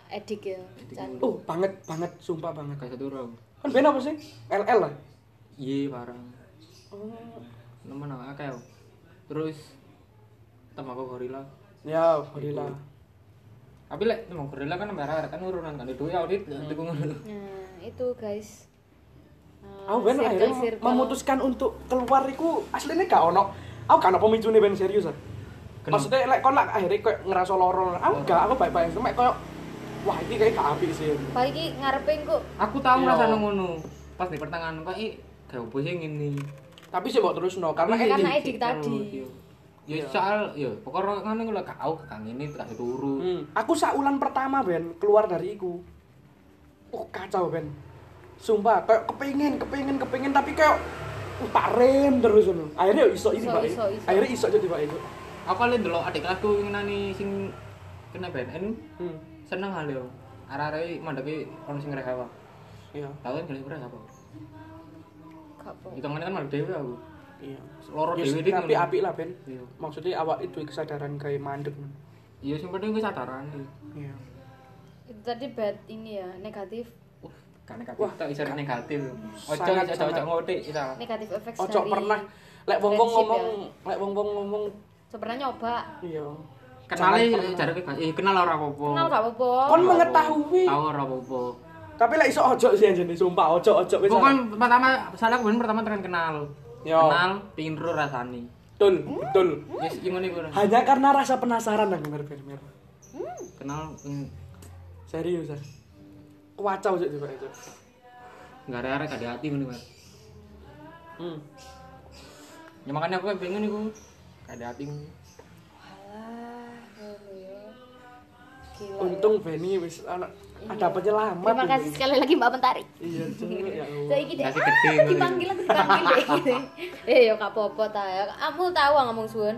S2: Edik ya.
S3: Edik
S2: Can.
S1: Oh, banget banget sumpah banget.
S3: Kayak satu aku.
S1: Kan Ben apa sih? LL lah.
S3: Iya parah.
S1: Oh.
S3: Nemen aku akeh. aku. Terus tambah aku gorila.
S1: Ya, alhamdulillah.
S3: Tapi lek nemu gorila kan merah kan urunan kan itu ya audit itu ngono.
S2: Nah, itu guys. Eh, Nah,
S1: Aku ben
S2: circle-
S1: akhirnya
S2: circle.
S1: memutuskan untuk keluar iku aslinya gak ono. Aku gak ono pemicune ben serius. ah.
S3: Kenapa?
S1: Maksudnya lek kon lak akhirnya koyo ngerasa loro. Aku gak, aku baik-baik cuma koyo wah ini kayak gak apik sih.
S2: Pak iki ngarepe engko
S3: Aku tahu
S1: Iya.
S3: ngrasakno ngono. Pas di pertengahan kok i kayak opo sih ngene.
S1: Tapi sih mbok terusno karena
S2: Iya,
S1: ini
S2: karena edik tadi.
S3: Ya soal ya pokoknya ngene ku lek gak aku kang ini tak turu.
S1: Hmm, aku saulan pertama ben keluar dari iku. Oh kacau ben. Sumpah kayak kepingin, kepingin, kepingin tapi kayak uh, tak rem terus ngono. Akhirnya yo iso ini
S2: Iso,
S1: Pak.
S2: iso, iso.
S1: Akhirnya iso jadi Pak iso.
S3: aku lihat dulu adik kelasku ngenani sing kena BNN
S1: Hmm.
S3: seneng hal yo arah-arah mandepi orang sing rehawa
S1: Iya,
S3: tau kan jenis berapa
S1: Oh.
S2: gak apa.
S3: hitungannya kan mandek dewe aku
S1: iya.
S3: loro
S1: Yes,
S3: dewe dik
S1: tapi
S3: ngono.
S1: apik lah ben.
S3: iya
S1: Maksudnya awak itu kesadaran kayak mandek. ngono.
S3: iya sing penting gue sadaran
S1: Iya.
S2: Itu tadi bad ini ya, negatif.
S3: uh kan negatif
S1: Wah,
S3: Wah, tak isan negatif ojo
S1: sangat,
S3: ojo ojo
S1: sangat.
S3: ngotik kita
S2: Negatif efek dari.
S1: Ojo pernah lek wong-wong
S2: friendship ya.
S1: ngomong, lek wong-wong ngomong
S2: Ojo pernah nyoba.
S1: iya.
S2: Oh.
S3: kenali
S1: Jangan pernah.
S3: jarake gak eh kenal ora apa-apa
S2: Kenal gak apa-apa.
S1: Kon mengetahui.
S3: tahu ora apa-apa
S1: Tapi lek iso ojo sih anjene, sumpah ojo ojo wis.
S3: Gue kan pertama, salah gue pertama tekan kenal
S1: Yo.
S3: Kenal, pingin ro rasani
S1: Betul, betul.
S3: Yes, gimana gue
S1: Hanya karena rasa penasaran aku mer ben mer.
S3: Kenal, pingin-
S1: Serius ah. Kacau sih coba itu.
S3: nggak ada arek ada hati ngono mas
S1: Hmm.
S3: ya makanya aku pengen iku gak ada hati ngono.
S2: Alah, ngono ya. Gila.
S1: Untung Benny wis ana ada penyelamat.
S2: Iya. Terima kasih sekali lagi Mbak Mentari.
S1: Iya, Cuk, ya Allah.
S2: Saiki deh.
S3: Nasi gede
S2: Ah,
S3: ngono.
S2: dipanggil aku dipanggil deh gitu. Eh yo gak apa-apa ta. ya. Kamu tahu ah ngomong suwun.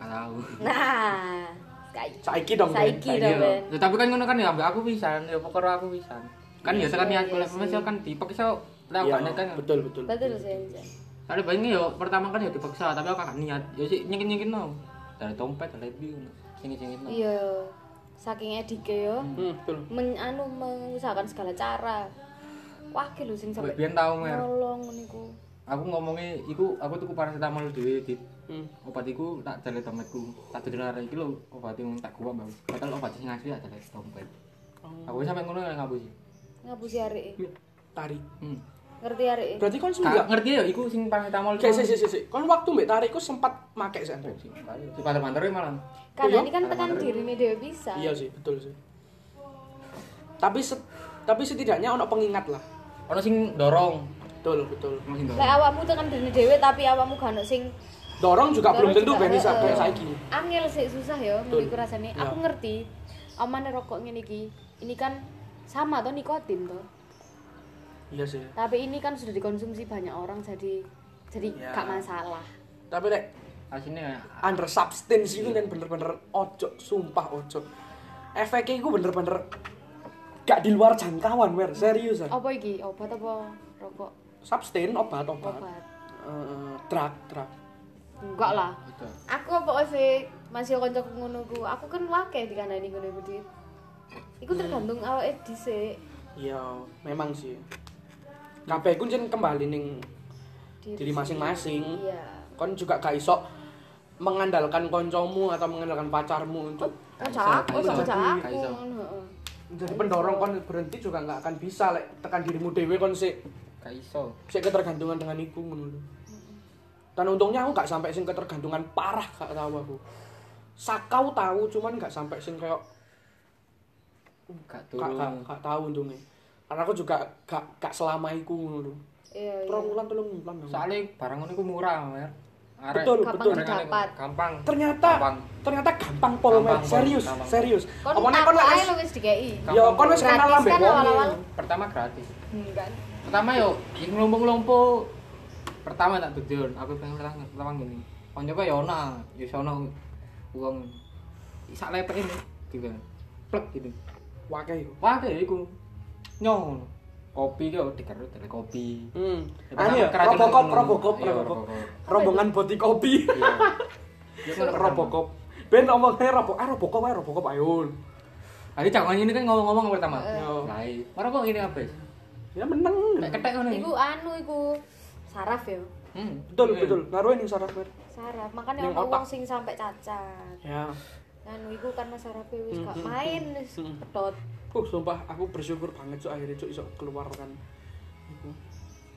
S3: gak tahu
S2: Nah, saiki.
S1: Saiki dong, Ben.
S2: Saiki dong, Ben.
S3: Ya, tapi kan ngono kan ya ambek aku pisan ya pokoknya aku pisan kan biasa kan
S2: iya,
S3: niat
S2: iya
S3: kuliah
S2: sih.
S3: misal kan dipaksa lah
S1: Iya,
S3: gak niat kan
S1: betul, betul.
S2: Betul sih. Jan.
S3: ada banyak yo pertama kan ya dipaksa tapi aku gak niat ya sih nyengit nyengit no dari dompet dari lebih no nyengit nyengit no
S2: Iya. Saking edike yo.
S1: Hmm, betul.
S2: men anu mengusahakan segala cara wah ki lho sing
S3: Gue
S2: sampai
S3: biar tau mer
S2: nolong niku
S3: aku ngomongnya iku aku tuku paracetamol dhewe di
S1: Hmm.
S3: obat iku tak dari dompetku tak dari arek iki lho obat yang tak gua mbak padahal obat sing asli tak dari dompet aku sampe ngono nggak ngabusi
S2: ngapusi areke
S1: Tarik.
S3: hmm.
S2: ngerti areke
S1: Berarti kon
S3: Gak
S1: semenjak
S3: ngerti ya, iku sing paracetamol
S1: Sik sik sik, sik sik. Kon waktu mbek tarik ku sempat make sih. Ben.
S3: Si panter-panter malah.
S1: Iya.
S2: karena ini kan tekan dirinya dia bisa
S1: Iya sih, betul sih. Tapi se- tapi setidaknya ono pengingat lah.
S3: Ono sing dorong,
S1: Betul, betul.
S3: ono sing
S2: lek
S3: dorong.
S2: awakmu tekan dirinya dewe tapi awakmu gak ono sing
S1: Dorong juga belum
S2: dorong
S1: tentu
S2: juga, eh,
S1: ben bisa
S2: heeh.
S1: ben saiki.
S2: angel sih susah ya
S1: Betul.
S2: ngene iku rasane
S1: Iya.
S2: aku ngerti amane rokok ngene iki ini kan sama toh nikotin toh
S1: Iya sih.
S2: tapi ini kan sudah dikonsumsi banyak orang jadi jadi
S1: Iya.
S2: gak masalah
S1: Tapi lek
S3: Asine ya.
S1: under substance itu kan bener-bener ojo sumpah ojo efeknya itu bener-bener gak di luar jangkauan wer serius ah.
S2: apa iki obat apa rokok
S1: substance obat obat
S2: obat
S1: Eh, drug drug
S2: enggak lah
S3: Betul.
S2: aku apa sih masih konco ngono ku aku kan wakil di kanan ini ngono dit Iku tergantung awake dhisik
S1: ya memang sih kabeh ku jen kembali ning diri masing-masing
S2: Iya.
S1: kon juga gak iso mengandalkan koncomu atau mengandalkan pacarmu untuk
S2: Ojak aku,
S1: Gak iso.
S2: ojak
S3: Gak
S2: aku.
S3: iso.
S2: Heeh.
S1: jadi pendorong kon berhenti juga nggak akan bisa lek tekan dirimu dewe kon sik
S3: Gak iso.
S1: sik ketergantungan dengan iku ngono lho. Dan untungnya aku gak sampai sing ketergantungan parah gak tahu aku. Sakau tahu cuman gak sampai sing kayak
S3: Gak
S1: gak, gak,
S3: turun.
S1: gak tahu untungnya. Karena aku juga gak gak selama iku ngono lho.
S2: Iya, iya.
S1: Rong wulan telung wulan. aku.
S3: Soalnya barang ngono iku murah, Mer. Arek.
S1: Betul, betul.
S2: Gampang
S3: Barang ngono iku
S2: Dapat.
S3: Gampang.
S1: Ternyata
S3: Gampang.
S1: ternyata gampang pol
S3: Gampang,
S1: men. Serius,
S3: gampang.
S1: serius.
S2: Kon
S1: Apa nek
S2: tak
S1: kon lek
S2: ae
S1: wis
S2: lu wis dikeki.
S3: Gampang
S1: ya kon wis
S2: pol.
S1: kenal ambek
S2: Gratis kan awal-awal.
S1: wong.
S3: Pertama gratis.
S2: Hmm, Enggak.
S3: Pertama yo yang ngelompok-ngelompok. Pertama tak tujuan, aku pengen pertama pertama gini. Kon nyoba yo ana, yo sono uang sak lepek ini gitu. Plek gitu.
S1: Wakai yo.
S3: Wah, kayak iku. Nyong. Kopi kok dikerut dari kopi.
S1: Hmm.
S3: Ya, pertama
S1: Ane yo
S3: keracunan
S1: robokop
S3: ngono.
S1: robokop
S3: Iya,
S1: robokop. Rombongan boti kopi.
S3: Iya. Iya, kan pertama.
S1: Robokop. Ben omongnya robok, ah robokop ae robokop ayo.
S3: Tadi cakupan ini kan ngomong-ngomong yang pertama.
S2: Eh.
S1: Yo.
S3: Lai. Mana kok ini apa?
S1: Ya meneng.
S3: Kayak ketek ngono. ya?
S2: Iku anu iku saraf ya.
S3: Hmm.
S1: Betul,
S3: Iya.
S1: betul. Ngaruhin yang saraf Mer.
S2: Saraf. Makanya
S1: Ning
S2: ono
S1: otak.
S2: wong sing sampe cacat.
S1: Ya.
S2: Anu iku karena sarafnya wis gak
S1: Mhm.
S2: main wis
S1: Mhm.
S2: pedot.
S1: Uh, sumpah aku bersyukur banget cuk akhirnya cuk iso keluar kan. Iku.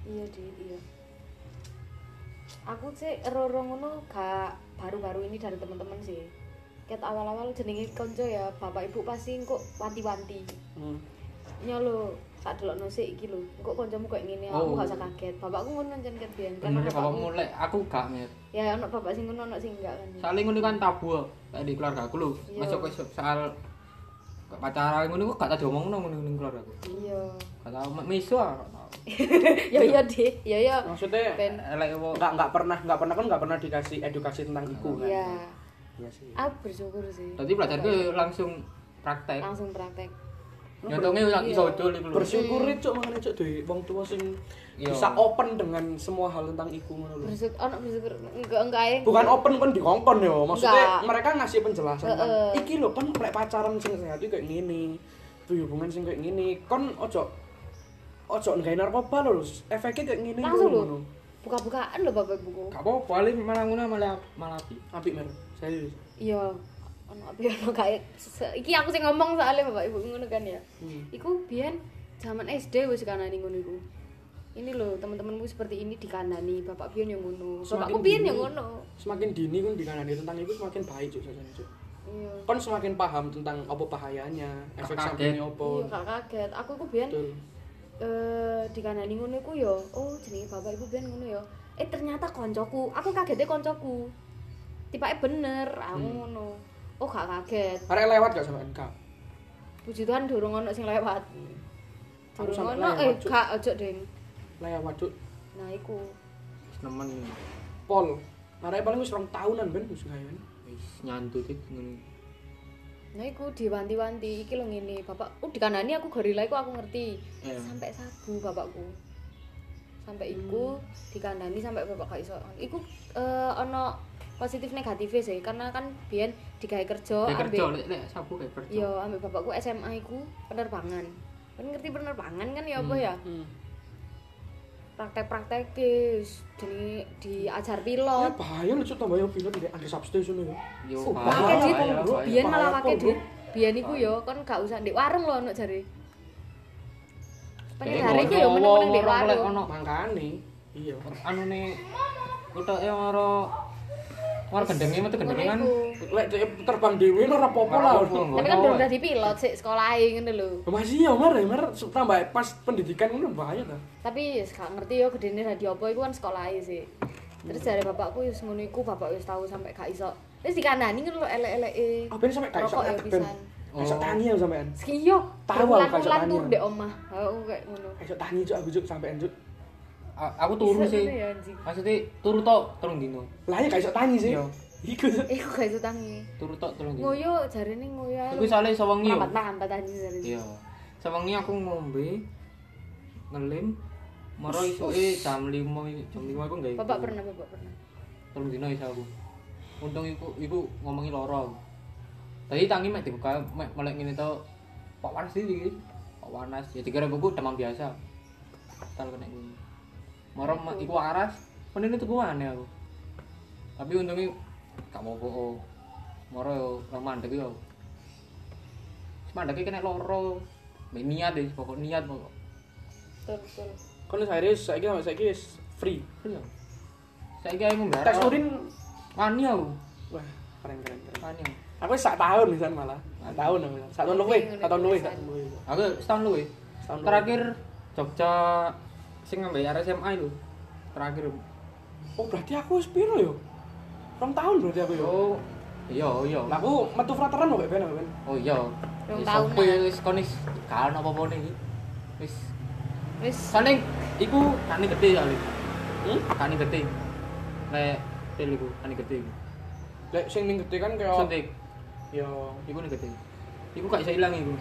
S2: Iya, Dik, iya. Aku sih roro ngono gak baru-baru ini dari teman-teman sih. Ket awal-awal jenenge konco ya, bapak ibu pasti engko wanti-wanti.
S1: Hmm.
S2: Nyolo, tak delokno sik iki lho. Engko koncomu koyo ngene,
S3: Oh.
S2: aku gak usah kaget. Bapakku ngono njen ket biyen. Karena
S3: Bener kalau
S2: bapakku-
S3: mulai aku gak mir.
S2: Ya ono bapak sing ngono ono sing enggak kan.
S3: Saling ngono kan tabu kayak di keluarga aku lho.
S2: Iya.
S3: Masuk ke soal gak pacaran ngono kok gak tau diomongno ngono ning keluarga aku.
S2: Iya.
S3: Gak tau miso ah, gak tau.
S2: Ya ya, Dik. Ya ya.
S1: Maksudnya
S2: Ben.
S3: Elek wo.
S1: nggak nggak pernah nggak pernah kan nggak pernah dikasih edukasi tentang iku kan.
S2: Iya.
S1: Iya sih.
S2: Aku bersyukur sih.
S3: Dadi pelajarku langsung praktek.
S2: langsung praktek.
S3: Nyontongnya wis
S2: Ah, Iya.
S3: iso dol iku lho.
S1: Bersyukur cuk makanya cuk duwe wong tua sing
S3: Iya.
S1: bisa open dengan semua hal tentang iku ngono lho.
S2: Bersyukur ono bersyukur enggak enggak ae.
S1: Bukan open kan dikongkon ya, maksudnya
S2: Nggak.
S1: mereka ngasih penjelasan kan.
S2: Heeh.
S1: Iki lho kan lek pacaran sing sehat iki kayak ngene. Duwe hubungan sing kayak ngene, kon ojo ojo nggawe narkoba lho, efeknya kayak ngene
S2: Langsung lho.
S1: ngono.
S2: Buka-bukaan lho bapak ibuku.
S3: Gak apa-apa, Ali malah ngono malah malah api.
S1: Apik mer, serius.
S2: Iya, ono apa ya, ono kae. se- Iki aku sing ngomong soalnya bapak ibu ngono kan ya.
S1: Hmm.
S2: Iku biyen zaman SD wis kanani ngono iku. Ini loh teman-temanmu seperti ini dikandani bapak biyen yang ngono.
S1: Semakin
S2: Bapakku biyen
S1: dini.
S2: yang ngono.
S1: Semakin dini kan dikandani tentang itu semakin baik cuk sesane cuk.
S2: Iya.
S1: Kon semakin paham tentang apa bahayanya, efek
S3: Kaget.
S1: sampingnya apa.
S2: Iya, gak kaget. Aku iku biyen
S1: Betul.
S2: eh dikandani ngono iku ya. Oh, jenenge bapak ibu biyen ngono ya. Eh ternyata koncoku. Aku kagete koncoku. Tipake bener, aku
S1: Hmm.
S2: ngono. Oh, gak kaget.
S1: Arek lewat gak sama NK?
S2: Puji Tuhan durung ono sing lewat.
S1: Aku
S2: Durung
S1: sampe
S2: ono
S1: lewat,
S2: eh
S1: Cuk.
S2: gak ojo, Ding.
S1: Lewat cuk.
S2: Nah, iku.
S3: Nemen ini.
S1: Pol. Arek paling wis rong tahunan ben wis gawe.
S3: wis nyantut itu ngono.
S2: Nah, iku diwanti-wanti iki lho ngene, Bapak. Oh, dikanani aku gorila iku aku ngerti.
S3: Iya.
S2: Sampai sabu bapakku.
S1: Hmm.
S2: Sampai iku dikandani sampai bapak gak iso. Iku eh, ono positif negatifnya sih karena kan biyen digawe kerja
S3: Kayak kerja,
S2: ambek
S3: lek lek sabu kayak kerja.
S2: yo ambek bapakku SMA iku penerbangan. Kan ngerti penerbangan kan ya apa
S3: Hmm.
S2: ya?
S1: Hmm.
S2: Praktek-praktek guys, di diajar
S1: Ya
S2: pilot.
S1: bahaya lho cuk tambah yo pilot ndek under substation yo.
S3: Yo,
S1: Oh,
S3: bahaya,
S2: Pakai
S1: bahaya,
S2: duit,
S1: bahaya,
S2: bro.
S3: Iya,
S1: bahaya.
S2: Biyen malah
S1: Bahaya,
S2: pakai
S1: bro.
S2: duit. Biyen iku yo kon gak usah ndek warung lho ono jare.
S3: Jadi
S2: Pengen hari iku
S3: Iya,
S2: yo
S3: ngono,
S2: meneng-meneng ndek
S3: ngono,
S2: warung.
S3: ngono.
S1: Mangkane. Iya.
S3: anu nih kutok yang ora ora gendenge metu kan. gendengan
S2: Ngono
S1: Lek dhek terbang dhewe ora apa-apa lah.
S2: iku. Tapi kan durung dadi pilot sik sekolah ae ngono lho.
S1: Masih ya Mar, ya, Mar tambah pas pendidikan ngono bahaya ta.
S2: Tapi wis gak ngerti yo gedene dadi apa iku kan sekolah ae sih. Terus jare bapakku wis ngono iku, bapak wis tau sampe gak iso. Wis dikandani ngono lho elek-eleke.
S1: Ah ben sampe gak iso
S2: Rokok ya
S1: ngadeg, ben.
S2: pisan.
S1: Gak iso
S3: Oh.
S1: tangi ya sampean.
S2: Sing yo,
S1: Tahu aku
S2: bulan-bulan
S1: kayak
S2: tur
S1: tanya.
S2: ndek omah. Aku kayak ngono.
S1: Gak iso tangi cuk aku cuk sampean cuk.
S3: aku turu
S2: Bisa
S3: sih
S2: ngono ya, anjing.
S3: maksudnya turu tok telung dino
S1: Lah ya gak iso tangi sih.
S3: Iya.
S1: Iku Cuk.
S2: Iku Eh, gak iso tangi.
S3: turu tok telung dino
S2: Ngoyo jarene ngoyo ae.
S3: tapi soalnya sewengi yo
S2: Lambat-lambat anjing jarene.
S3: iya sewengi aku ngombe ngelim maro isuke jam 5 jam 5 aku nggae
S2: Bapak pernah, bapak pernah.
S3: telung dino iso aku untung iku iku ngomongi loro aku tadi tangi mek dibuka mek melek ngene tok kok panas iki kok panas ya dikira buku demam biasa tal kena ngono moro mek iku aras menene tuku aneh aku oh. tapi untungnya gak mau kok moro yo nang mandek yo mandeke kena loro. Mbek niat deh, pokok niat pokok.
S2: betul betul
S1: Kon wis akhirnya saiki sampai saiki wis free.
S3: Iya. Saiki aku mblara.
S1: Tes urin
S3: wani aku.
S1: wah keren keren keren.
S3: Wani. aku.
S1: Aku wis sak tahun pisan malah. Sak tahun aku. bilang. Sak tahun luwih,
S3: Iya,
S1: sak tahun luwih, sak tahun luwih.
S3: Aku setahun luwe.
S1: Setahun luwih.
S3: Terakhir Jogja sing mbek arek SMA itu. Terakhir.
S1: Oh, berarti aku wis piro yo? Rong tahun berarti aku yo.
S2: Oh.
S3: Yo. Iya, iya.
S1: Lah aku metu frateran kok ben aku ben.
S3: Oh iya.
S2: Rong
S3: Wis
S2: tahunan.
S3: sopo ya wis konis kan apa-apa iki. Wis
S2: wis
S3: soalnya iku kani gede kali.
S1: Hmm?
S3: Kani gede. Nek pil iku kani gede.
S1: Lek sing ning gede kan kayak
S3: Suntik.
S1: yo
S3: Iku nih gede. Iku gak bisa ilang iku.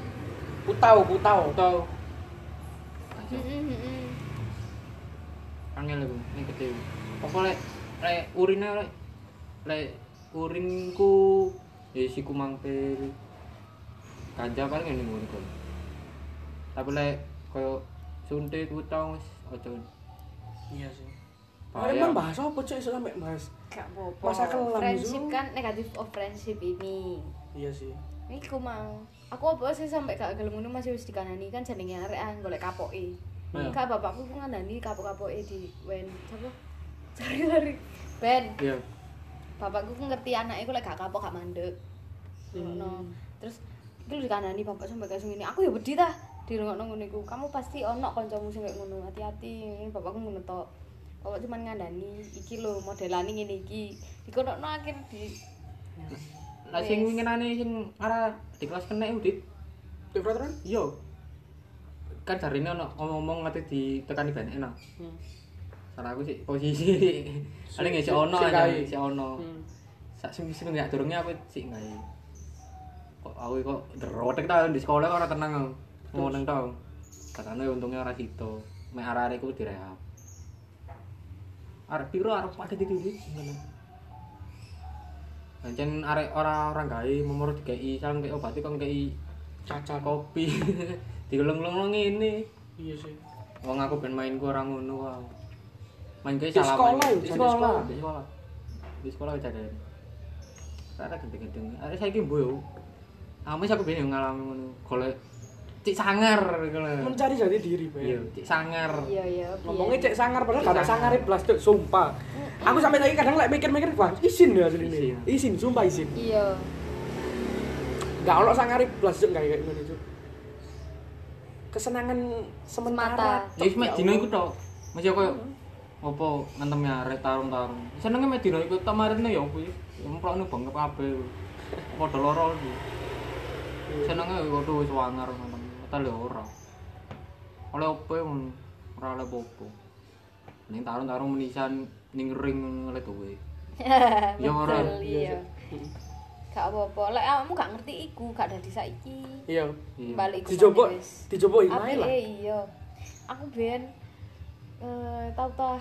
S1: putau putau.
S3: Atau
S2: Mm, mm, mm.
S3: angel iku nih gede. iku. Pokoknya lek lek urine lek lek urinku ya siku mangpil. Ganja paling ngene ngono iku. Tapi lek koyo suntik utang wis aja.
S1: Iya sih.
S3: Bahaya.
S1: Emang bahas apa cek iso sampe bahas?
S2: gak apa-apa
S1: Masa kelam,
S2: friendship
S1: Zu.
S2: kan negatif of friendship ini
S1: Iya sih.
S2: ini aku mau aku apa sih sampai gak gelem ngono masih wis dikanani kan jenenge arek an golek kapoke
S3: Iya.
S2: gak bapakku ku ngandani kapok-kapoke di wen apa cari-cari ben
S3: Iya.
S2: bapakku ku ngerti anaknya ku lek gak kapok gak mandek Ngono. terus itu dikandani bapak sampai kayak sing ini aku ya wedi tah di ngono ngono iku kamu pasti ono kancamu sing kayak ngono hati-hati Ini bapakku ngono tok bapak cuman ngandani iki lho modelane ngene iki dikonokno akhir di
S3: Lah sing
S2: Wis.
S3: winginane sing arah di kelas kena udit.
S1: Di frateran?
S3: Iya. Kan jarine ono ngomong-ngomong ngate ditekani ben enak.
S1: Hmm.
S3: Cara aku sih posisi paling ya si ono
S1: sing
S3: aja,
S1: kae.
S3: si ono.
S1: Hmm.
S3: Sak sing sing gak durunge aku sik gawe. Kok aku kok derotek ta di sekolah kok ora tenang aku. Ngono nang tau. Katane untungnya ora situ. Mek arek-arek iku direhab. Arek piro arek paket iki iki ngono. Pancen arek ora ora gawe memur dikei sang kei obat kok kei
S1: Caca kok.
S3: kopi. Digelung-gelung ngene.
S1: Iya sih.
S3: Wong aku ben mainku ora ngono wae. Main kayak
S1: Di
S3: salaman.
S1: sekolah,
S3: di
S1: Jan, di
S3: sekolah,
S1: sekolah.
S3: di sekolah. Di sekolah kejadian. Ada gendeng-gendeng. Ada saiki mbo yo. Amis aku ben yo ngalami ngono. Golek cik sangar ngono.
S1: Mencari jati diri,
S3: Eh. Iya,
S1: Ben.
S3: cik sangar.
S2: iya iya
S1: Ngomongnya cek sangar padahal
S3: Cek
S1: gak ada
S3: sangar.
S1: sangar blas cuk, sumpah. Aku sampai lagi kadang lek mikir-mikir, wah, izin ya asli ini.
S3: Izin.
S1: Izin, sumpah izin.
S2: iya
S1: Gak ono sangar blas cuk kayak kayak ngono cuk. Kesenangan sementara.
S2: Semata.
S1: Cuk,
S3: Ya wis mek
S1: ya
S3: dino
S1: Allah.
S3: iku tok. Masih koyo apa ngentem ya arek tarung-tarung. Senenge mek dino iku tok marine yo kuwi. Emplokno bengkep kabeh. Padha loro iki. Senenge waduh wis wangar ngentem. Padahal yo ora. Oleh opo yo ngono. ora oleh opo. Ning tarung-tarung menisan ning ring oleh duwe. Iya, ora.
S2: betul iya
S1: sih.
S2: gak apa-apa lek kamu gak ngerti iku gak ada di saiki
S1: Iya.
S3: Iya.
S2: balik iku
S1: Dicoba,
S2: mana wis.
S1: dicoba main
S2: Apike
S1: lah.
S2: iya. Aku ben eh tau tau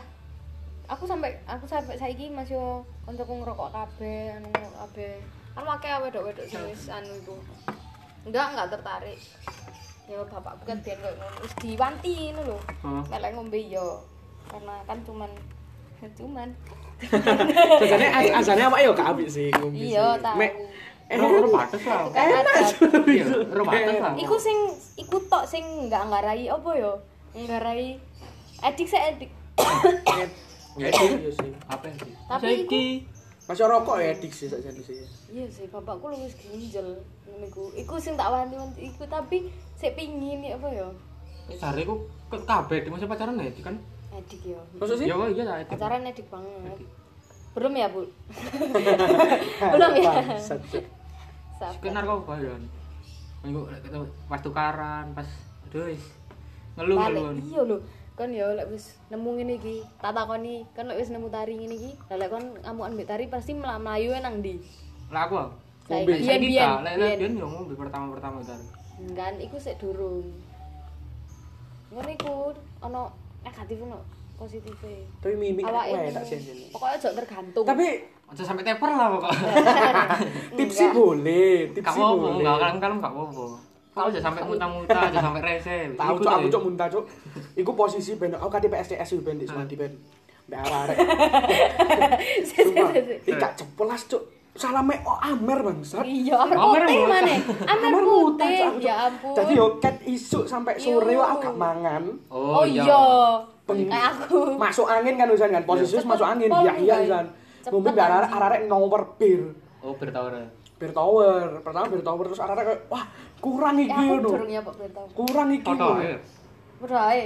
S2: aku sampai aku sampai saiki masih yo kancaku ngerokok kabeh anu ngerokok kabeh. Kan akeh wedok-wedok sing wis anu iku. Enggak, enggak tertarik. Ya bapakku kan biyen koyo ngono wis diwanti ngono lho.
S3: Heeh.
S2: Melek ngombe yo. Karena kan cuman cuman
S1: Jajane asane awake yo ya gak apik sih. ngombe
S2: iya
S1: sih.
S2: tahu.
S1: Mek
S3: Eh, ora batas lah.
S2: Gak ada.
S3: Iya, ora batas lah.
S2: Eh. Iku sing iku tok sing enggak nggarai apa yo? Nggarai edik saya edik.
S3: Ya iki
S1: iya sih.
S3: apa sih?
S2: Tapi
S3: Saiki
S1: Masih rokok ya dik sih sakjane sih.
S2: Iya sih, bapakku luwes ginjal ngono iku. Iku sing tak wanti-wanti iku tapi sik pingin ya apa ya?
S3: jare iku ke- kabeh di masa pacaran ya kan.
S2: Edik ya.
S1: Maksud sih?
S3: Ya oh, iya lah. itu.
S2: Pacaran edik banget. Belum ya, Bu? Belum ya?
S1: Bangsat, Cuk.
S3: Sikit
S2: Sabar.
S3: narkoba ya. Minggu lek kita pas tukaran, pas aduh wis ngeluh
S2: Balik.
S3: ngeluh.
S2: Iya lho. Kan ya lek wis nemu ngene iki, tak takoni, kan lek wis nemu tari ngene iki, lah lek kon ngamukan mbek tari pasti mel- melayu nang ndi?
S3: Lah aku.
S2: Saiki biyen
S3: Saiki
S2: biyen.
S3: gak, lek lek
S2: biyen.
S3: biyen yo ngombe pertama-pertama tar.
S2: kan iku sik durung ngono iku ana negatif ono positifnya
S1: Tapi mimik
S2: awake
S1: wae tak
S2: ini
S1: sini.
S2: pokoknya aja tergantung
S1: Tapi
S3: Aja sampe teper lah pokok.
S1: tipsi
S2: Enggak.
S1: boleh,
S3: Gak
S1: tipsi
S3: apa-apa,
S1: boleh.
S3: gak kalem-kalem gak apa-apa. Kalau aja sampe muntah-muntah, aja sampe rese.
S1: Tahu
S3: Iku
S1: cok
S3: tuh
S1: aku
S3: ya.
S1: cok muntah cok. Iku posisi ben aku kan kate PSDS yo ben
S3: Ah.
S1: di Sumadi ben. Mbak arek.
S2: Sik, sik, sik, sik.
S1: Iki gak jepelas cok. salame oh amer bangsat.
S2: Iya, arek
S3: Amer
S2: putih
S3: murah.
S2: mana? Amer
S1: Amer murah,
S2: putih.
S1: Cak.
S2: Ya ampun.
S1: Jadi yo ket isuk sampai sore
S2: Iyo.
S1: wae aku gak mangan.
S2: Oh iya.
S1: Bengi.
S2: Kayak aku.
S1: Masuk angin kan Usan kan, posisi
S2: Cepet
S1: masuk angin.
S2: pol,
S1: Iya iya
S2: guys.
S1: Usan.
S2: Cepet,
S1: Ngombe biar arek
S2: anjing.
S1: arek nomor bir.
S3: Oh, bertawar.
S1: Bir tower. Pertama bir tower terus arek kayak wah kurang
S2: Ya
S1: iki
S2: aku
S1: ngono.
S2: durung ya Pak Bentong.
S1: Kurang iki.
S3: Toto.
S1: ngono.
S2: Berae.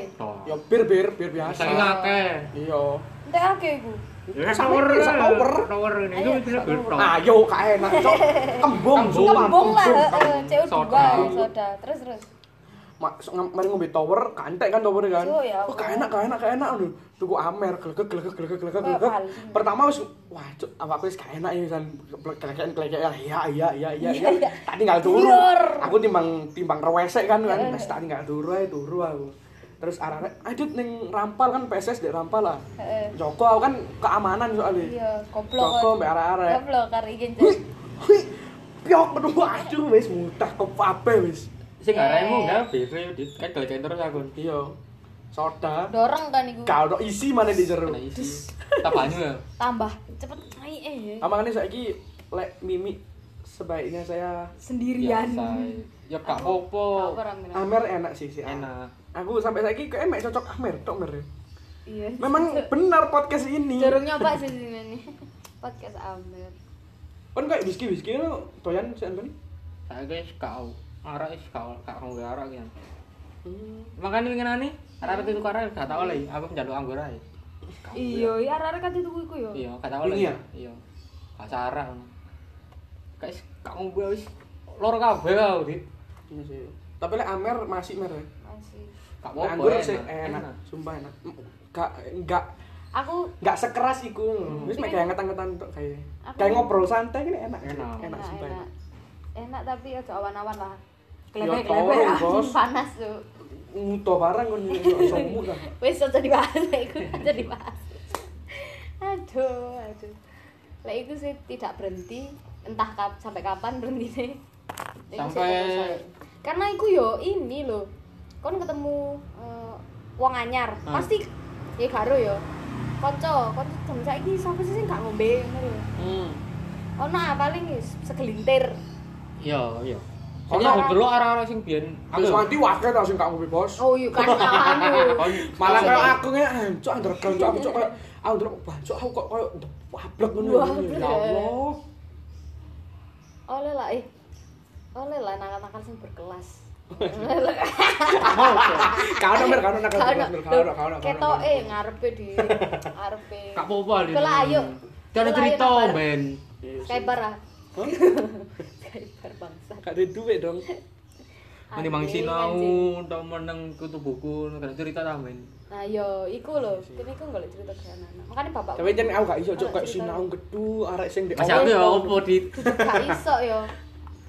S1: Ya bir bir bir biasa.
S3: Saiki akeh.
S1: Iya.
S2: Entek akeh iku.
S1: Sampai bisa tower.
S3: Tower ini
S2: Ayo,
S3: itu
S2: tower.
S3: bertawar.
S1: Ayo gak enak cok. Kembung.
S3: Kembung.
S1: sumpah,
S2: Kembung lah, heeh, eh,
S3: Soda.
S2: CO2, soda. Terus terus.
S1: Mak, so- ngam- mari ngombe tower, kantek kan tower kan.
S2: Yo, ya
S1: Oh,
S2: Allah.
S1: gak enak, gak enak, gak enak. Aduh, tuku amer, glegek glegek glegek glegek
S2: Wah,
S1: glegek.
S2: palsu.
S1: Pertama wis wah, cuk, awakku wis gak enak ya san glegeken glegek ya iya iya iya iya.
S2: Iya,
S1: iya.
S2: iya.
S1: Tak tinggal turu.
S2: Tidur.
S1: Aku timbang timbang rewesek kan kan.
S2: Iya, iya.
S1: Wis tak tinggal turu ae turu aku. Terus arek-arek adit ning rampal kan PSS dek rampal lah.
S2: Heeh.
S1: Joko aku kan keamanan soalnya.
S2: Iya, goblok.
S1: Joko mbek arek-arek.
S2: Goblok karo iki.
S1: Wih, wih, piok aduh aduh wis mutah kepabe wis.
S3: Sing aremu enggak biru di Eh. kayak terus aku.
S1: Iya. Soda.
S2: Dorong kan iku.
S1: Gak ada isi mana di jero.
S3: Kena isi. Tak banyu ya.
S2: Tambah cepet naik eh.
S1: Amangannya kan saiki lek mimi sebaiknya saya
S2: Sendirian.
S3: Biasa. Ya gak
S2: Apa
S3: apa-apa.
S2: orang bilang?
S1: Amer enak sih sih.
S3: Enak.
S1: Aku sampai saiki kayak emek cocok Amer tok Mer.
S2: Iya.
S1: Memang benar podcast ini.
S2: Durung nyoba sih sini nih. Podcast Amer.
S1: Kan kayak whisky whisky lo toyan sih Anton.
S3: Saya guys kau. Arah is kau kak ngombe arah kan. Makanya pengen nih. Arah itu tuh arah gak tau lagi. Aku menjaluk anggur aja.
S2: Iya, ya arek-arek kan dituku iku ya.
S3: Iya, gak tau
S1: Ini
S3: lagi.
S1: ya?
S3: Iya. Gak sarah. Guys, kak ngombe wis lor kabeh kau dit.
S1: Iya sih. Tapi lek Amer masih Mer. ya.
S2: Masih.
S1: Lek
S3: Gak apa-apa.
S1: Anggur sih enak. Sumpah enak. Gak gak
S2: Aku
S1: gak sekeras iku. Wis mek kayak anget-angetan tok kayak.
S2: Aku-
S1: Kayak ngobrol santai kan enak.
S3: Enak.
S1: Enak sumpah.
S2: enak.
S1: enak.
S2: Enak tapi ojo awan-awan lah.
S1: Ya, tolong,
S2: ah,
S1: Bos.
S2: panas tuh.
S1: Muto barang kon yo somuk dah.
S2: Wis aja dibahas lek iku, aja dibahas. Aduh, aduh. Lek iku sih tidak berhenti, entah kap, sampai kapan berhenti sih. Lek iku sih
S3: Sampai-
S2: tak usah. Karena iku yo ini loh. Kon ketemu eh, wong anyar,
S3: Hmm.
S2: pasti ya karo yo. Kanca, kanca jam saiki sapa sih sing gak ngombe ngono lho.
S3: Hmm.
S2: Ono ah, paling segelintir.
S3: Iya, iya.
S1: Kalau
S3: Soalnya aku
S2: arah-
S3: delok arah-arah sing biyen
S1: Terus nanti wakil tau sing gak ngombe bos.
S2: Oh iya kan awakmu.
S1: malah kalau aku kayak ancok underground cok aku cok kayak ah underground bancok aku kok kayak wablek ngono ya.
S2: Wablek.
S1: ya Allah
S2: Oleh lah eh. Oleh lah nakal-nakal sing berkelas.
S1: kau nomor kau nomor kau
S2: Kaono.
S1: nomor kau nomor kau nomor
S2: Ketoke eh, ngarepe di ngarepe.
S3: Gak apa-apa Lin.
S2: Kela ayo.
S3: Cara
S2: Kela
S3: cerita
S2: ayo, Kabar.
S3: Ben.
S2: Skyper ah.
S1: Hah?
S2: Skyper bangsa.
S1: gak ada duit dong
S3: Nanti mang
S2: Anjing,
S3: sinau
S2: anjing.
S3: tau meneng kutu buku gara cerita ta Ben.
S2: Nah yo iku lho, kene iku golek cerita ke anak-anak. Makane bapak.
S1: tapi jangan aku gak iso cok
S2: Kalau
S1: kayak
S2: cerita-
S1: sinau gedu arek sing di
S3: Masih aku ya opo di
S2: gak iso yo.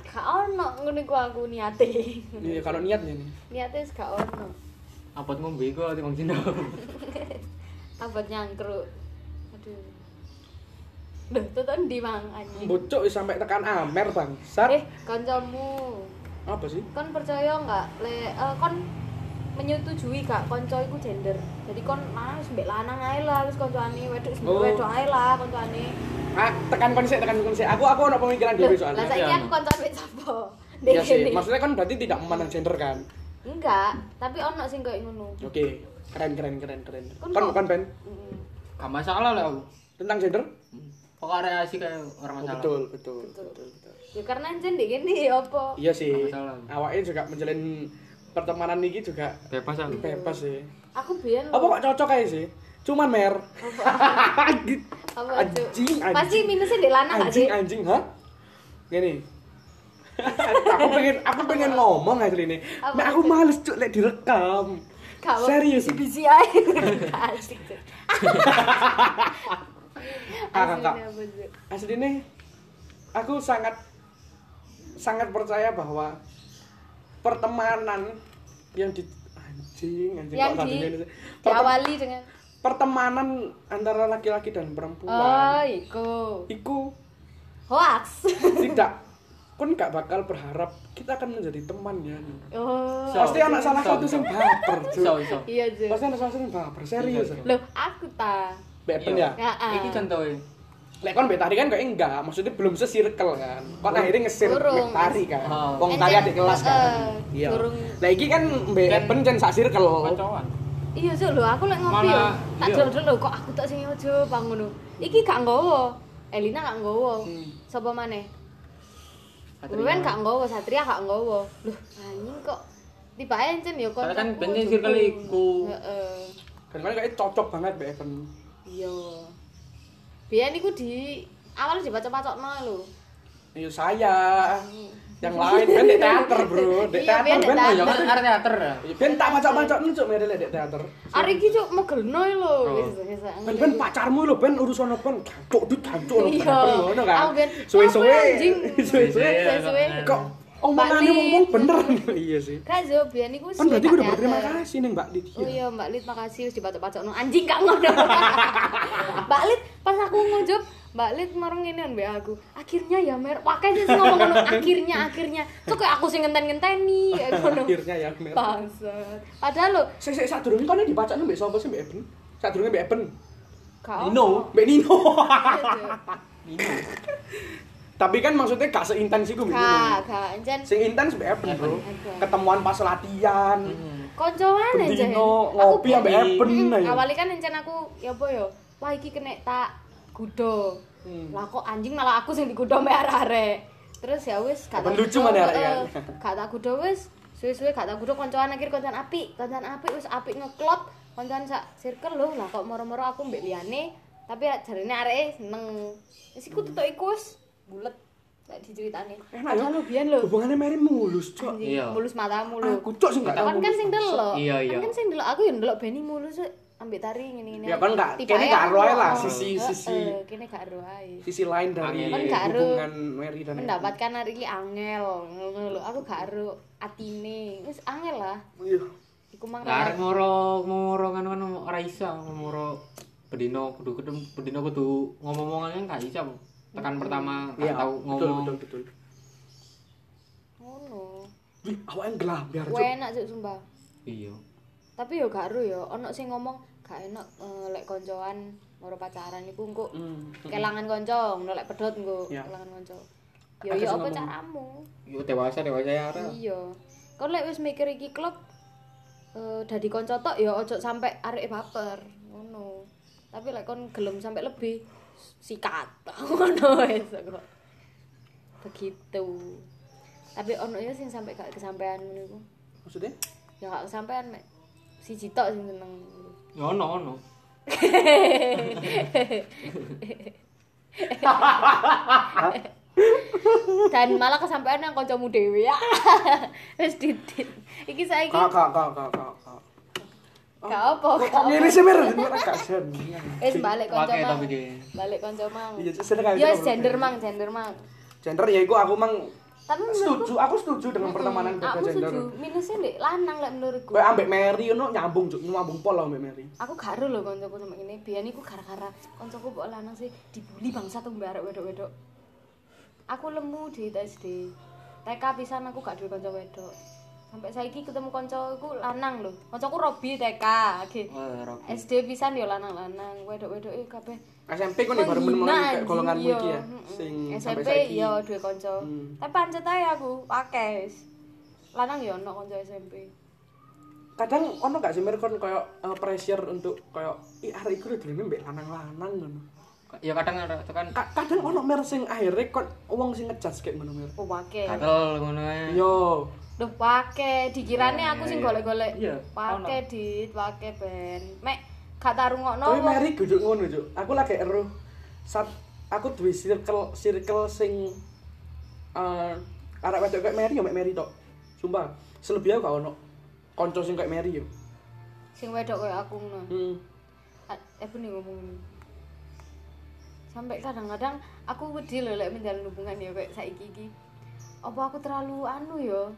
S2: Gak ono ngene ku aku niate.
S1: iya kalau niatnya nih
S2: Niate wis gak ono.
S3: abot ngombe iku ati mang sinau.
S2: Abot nyangkruk. Aduh. Loh, tonton di mang anjing.
S1: bocok wis sampai tekan amer bangsat
S2: Eh, kancamu.
S1: apa sih
S2: Kon percaya nggak le eh, kon menyetujui gak konco iku gender. Jadi kon mana wis mbek lanang ae lah wis koncoane wedok wis mbek
S1: Oh.
S2: wedok ae lah koncoane.
S1: ah tekan konsep tekan konsep aku aku ada pemikiran dhewe
S2: Lah
S1: soalnya
S2: saiki
S3: Iya,
S2: aku
S3: no.
S2: koncoan mbek sapa? Ndek
S1: Iya sih,
S2: kene.
S1: maksudnya kan berarti tidak memandang gender kan?
S2: Enggak, tapi ono sing koyo ngono.
S1: Oke, keren keren keren keren.
S2: Kon
S1: Kon
S2: Kan kok-
S1: bukan Ben
S2: Mm-mm.
S3: Gak masalah lah aku.
S1: tentang gender?
S3: Pokoknya asik kayak orang
S1: Oh,
S3: masalah.
S1: betul, betul,
S2: Betul.
S1: betul, betul.
S2: Ya karena anjen ndek kene ya apa?
S1: Iya sih.
S3: Nggak masalah.
S1: Awaknya juga menjalin pertemanan niki juga
S3: Bebas aku.
S1: bebas sih.
S2: Aku biyen
S1: Apa kok cocok aja sih? Cuman mer. Gitu.
S2: apa Cuk?
S1: Anjing, anjing.
S2: Pasti minusnya ndek lanang gak sih?
S1: anjing anjing, ha? Gini. aku pengen aku pengen ngomong aja ini.
S2: Apa
S1: Mek aku
S2: itu?
S1: males cuk lek direkam.
S2: Gak apa,
S1: Serius?
S2: biji-biji ae. Gak asik. Cuk.
S1: Kakak, kak.
S2: Aslinya apa, Cuk?
S1: Asli nih, aku sangat sangat percaya bahwa pertemanan yang di anjing anjing
S2: yang
S1: kok
S2: di
S1: sambil ini? Pertem-
S2: diawali dengan
S1: pertemanan antara laki-laki dan perempuan
S2: oh iku
S1: iku
S2: hoax
S1: tidak kon gak bakal berharap kita akan menjadi teman ya
S2: oh
S3: So-
S1: pasti anak salah
S3: so-
S1: satu
S3: so-
S1: yang baper Cuk.
S3: Iso iso.
S2: iya Ju
S1: pasti anak salah satu yang baper serius
S3: Iya,
S2: loh aku ta
S1: Bepen ya
S2: Heeh.
S3: Iki contohnya
S1: Lek kon mbek tari kan kayak enggak, maksudnya belum sesirkel kan. Kon akhirnya ngesir
S2: Durung.
S1: mbek tari kan.
S3: Ah.
S1: Wong tari adik kelas kan.
S2: Iya.
S1: Iya.
S2: eh, Durung.
S1: Lah iki kan mbek
S3: Kan-
S1: Eben jan sak circle.
S3: Kacoan.
S2: Iya sih lho, aku lek ngopi
S3: Malah,
S2: yo. Tak
S3: iya.
S2: delok-delok lho, kok aku tak sing ojo bang ngono. Iki gak nggawa. Elina gak nggawa.
S3: Hmm.
S2: Sapa maneh?
S3: Satria.
S2: Wewen gak nggawa, Satria gak nggawa. Loh, anjing kok tiba encen yo kon.
S3: Soalnya kan bener circle iku.
S2: Heeh.
S1: Dan kan kayak cocok banget mbek Eben.
S2: Iya. Biyen iku di awal dibacok-bacokno lho.
S1: Iya saya. Yang lain ben dek teater, Bro. Dek
S2: Iya,
S1: teater
S2: Ben dek
S1: ben.
S3: Oh, ya kan arek teater. ya?
S1: Ben tak pacak-pacak nu cuk merele dek teater.
S2: Arek iki cuk mogelno lho.
S3: Oh.
S2: Wis, wis, wis.
S1: Ben ben pacarmu lho ben urusan apa gancuk dit gancuk lho
S2: Iya.
S1: Ben, ngono kan.
S2: Aku Ben,
S1: Suwe-suwe.
S2: apa anjing?
S1: Suwe-suwe.
S2: Suwe-suwe.
S1: Kok omongannya
S2: Mbak Lit.
S1: ngomong bener iya sih.
S2: Gak Jo, biyen iku
S1: Kan berarti
S2: suwe
S1: gue udah
S2: tak
S1: berterima
S2: teater.
S1: kasih nih Mbak Lydia.
S2: Oh iya Mbak Lid makasih wis dibacok-bacokno. Anjing gak ngono. Mbak Lid pas aku ngujup Mbak Lid marung ngene mbek aku. Akhirnya ya Mer, wakai sih ngomong ngono akhirnya akhirnya. Tuh kayak aku sing ngenten-ngenteni kayak ngono.
S1: Akhirnya ya Mer.
S2: Bangsat. Padahal lo
S1: Sik sik sadurunge kene dipacakne mbek sapa sih Mbak Eben? Sadurunge Mbak Eben.
S2: gak
S3: Nino.
S2: ono.
S1: Mbak Nino.
S2: Iya, Jo.
S1: Tapi kan maksudnya gak seintens iku Mbak Nino.
S2: Gak, gak encen.
S1: Sing intens Mbak Eben, Bro.
S2: Eben.
S1: Ketemuan pas latihan.
S3: Hmm.
S2: Koncoan aja.
S1: Bendino ngopi
S2: biyen-
S1: ambek Eben
S2: Mm,
S1: ayo.
S2: awalnya kan encen aku ya apa ya wah iki kena tak gudo
S1: Hmm.
S2: lah kok anjing malah aku sing digudo mbak arek terus ya wis gak
S1: Apa
S2: tak
S1: lucu
S2: gudo,
S1: mana arek
S2: heeh.
S1: kan?
S2: gak tak gudo wis suwe-suwe gak tak gudo koncoan akhir koncoan api koncoan api wis api ngeklop koncoan sak circle loh lah kok moro-moro aku mbek liyane tapi jarine areke seneng wis iku tutuk iku wis bulet gak diceritani
S1: Enak
S2: padahal lu biyen lho
S1: Eh, Hubungannya Mary mulus, Cok.
S2: anjing
S3: Iya.
S2: mulus matamu lho
S1: Aku cok sih gak
S2: kan
S1: tahu.
S2: kan
S1: mulus.
S2: sing delok
S3: Iya, iya.
S2: kan kan sing delok aku ya delok Beni mulu sih ambek tari ngene-ngene
S1: Ya kan gak,
S2: Tiba-tiba
S1: kene gak
S2: aku
S1: ero ae
S2: delok,
S1: lah,
S2: oh,
S1: sisi-
S2: heeh,
S1: sisi-
S2: kene gak ero ae
S1: Sisi lain dari
S3: Kan
S2: gak ero.
S1: hubungan Mary dan Eben.
S2: mendapatkan hari iki angel ngono lho aku gak ero atine wis angel lah
S1: Iya.
S2: iku mang
S3: Lah arek moro moro kan kan ora iso moro bedino kudu kudu bedino kudu ngomong-ngomongan kan gak iso. Tekan pertama
S1: Iya,
S3: gak tau
S1: betul
S3: ngomong.
S1: betul betul.
S2: ngono
S1: Wih, awaknya gelap biar
S2: Kuwi
S1: Cok.
S2: enak sih sumpah
S3: Iya.
S2: tapi yo gak ero yo ono sing ngomong gak enak eh, lek koncoan moro pacaran iku engko
S1: Hmm.
S2: kelangan kanca ngono lek pedhot engko
S1: Ya.
S2: kelangan kanca yo
S1: Ada
S2: yo
S1: sing
S2: apa
S1: ngomong.
S2: caramu
S3: Yo dewasa dewasa ya arek.
S2: iya kon lek wis mikir iki klub eh dadi kanca tok ya ojo sampe arek baper ngono tapi lek kon gelem sampe lebih sikat ngono wis kok begitu tapi ono ya sing sampe gak kesampaian ngono iku
S1: Maksudnya?
S2: ya gak kesampaian mek siji tok sing seneng
S3: Ya ono ono.
S2: dan malah kesampaian nang kancamu dhewe ya wis didit iki saiki
S1: Kak kak kak kak kak. kak.
S2: gak Oh, apa
S1: Kok ngene sih Mer? Ini ora kasen.
S2: wis balik kanca
S3: Oke
S2: mang
S3: tapi iki.
S2: balik kanca mang
S1: Iya, Cuk, silakan.
S2: Yo
S1: silakan.
S2: gender mang, gender mang.
S1: Gender ya iku aku mang
S2: Tapi menurutku Hmm,
S1: setuju, aku setuju dengan pertemanan beda
S2: aku
S1: gender.
S2: setuju. Minusnya dek lanang lek menurutku.
S1: Kayak ambek Mary ngono nyambung, Cuk. Nyambung pol lah ambek Mary.
S2: Aku gak ero lho kancaku sama ini. Biyen iku gara-gara kancaku kok lanang sih dibully bangsa tuh mbak arek wedok-wedok. Aku lemu di SD. TK pisan aku gak duwe kanca wedok. Sampai saiki ketemu kancaku lanang lho. Kancaku Robi TK. Oke.
S3: Oh, Rocky.
S2: SD pisan yo lanang-lanang, wedok-wedok eh kabeh
S1: SMP kan ya baru menemukan kayak
S2: Menghina, Oh, anjing,
S1: golonganmu
S2: iya.
S1: iki ya.
S2: Mm-mm.
S1: Sing sampai
S2: SMP
S1: saiki.
S2: ya duwe kanca.
S1: Hmm.
S2: Tapi pancet ae aku pakai. wis. Lanang ya ono kanca SMP.
S1: kadang ono gak sih Mir kon koyo eh, pressure untuk koyo i hari iku durunge mbek lanang-lanang ngono.
S3: Ya kadang ada itu kan
S1: Ka- kadang ono Mir sing akhirnya kon wong sing ngejudge kayak ngono Mir.
S2: Oh pakai.
S3: gatel ngono ae.
S1: Yo,
S2: Duh pakai dikirane aku sing
S3: Iya.
S2: golek-golek.
S3: Iya,
S2: Pakai dit, pakai ben. Mek gak tak rungokno
S1: Tapi
S2: wong.
S1: Mary duduk ngono, Cuk. Aku lagi eruh. Saat aku duwe circle circle sing eh arek wedok kayak Mary ya mek Mary tok. Sumpah, selebihnya gak ono kanca sing kayak Mary ya.
S2: sing wedok koyo aku ngono.
S1: Hmm.
S2: A- Aku nih ngomong ini. Sampai kadang-kadang aku wedi lho lek menjalin hubungan ya kayak saiki iki. Apa aku terlalu anu ya?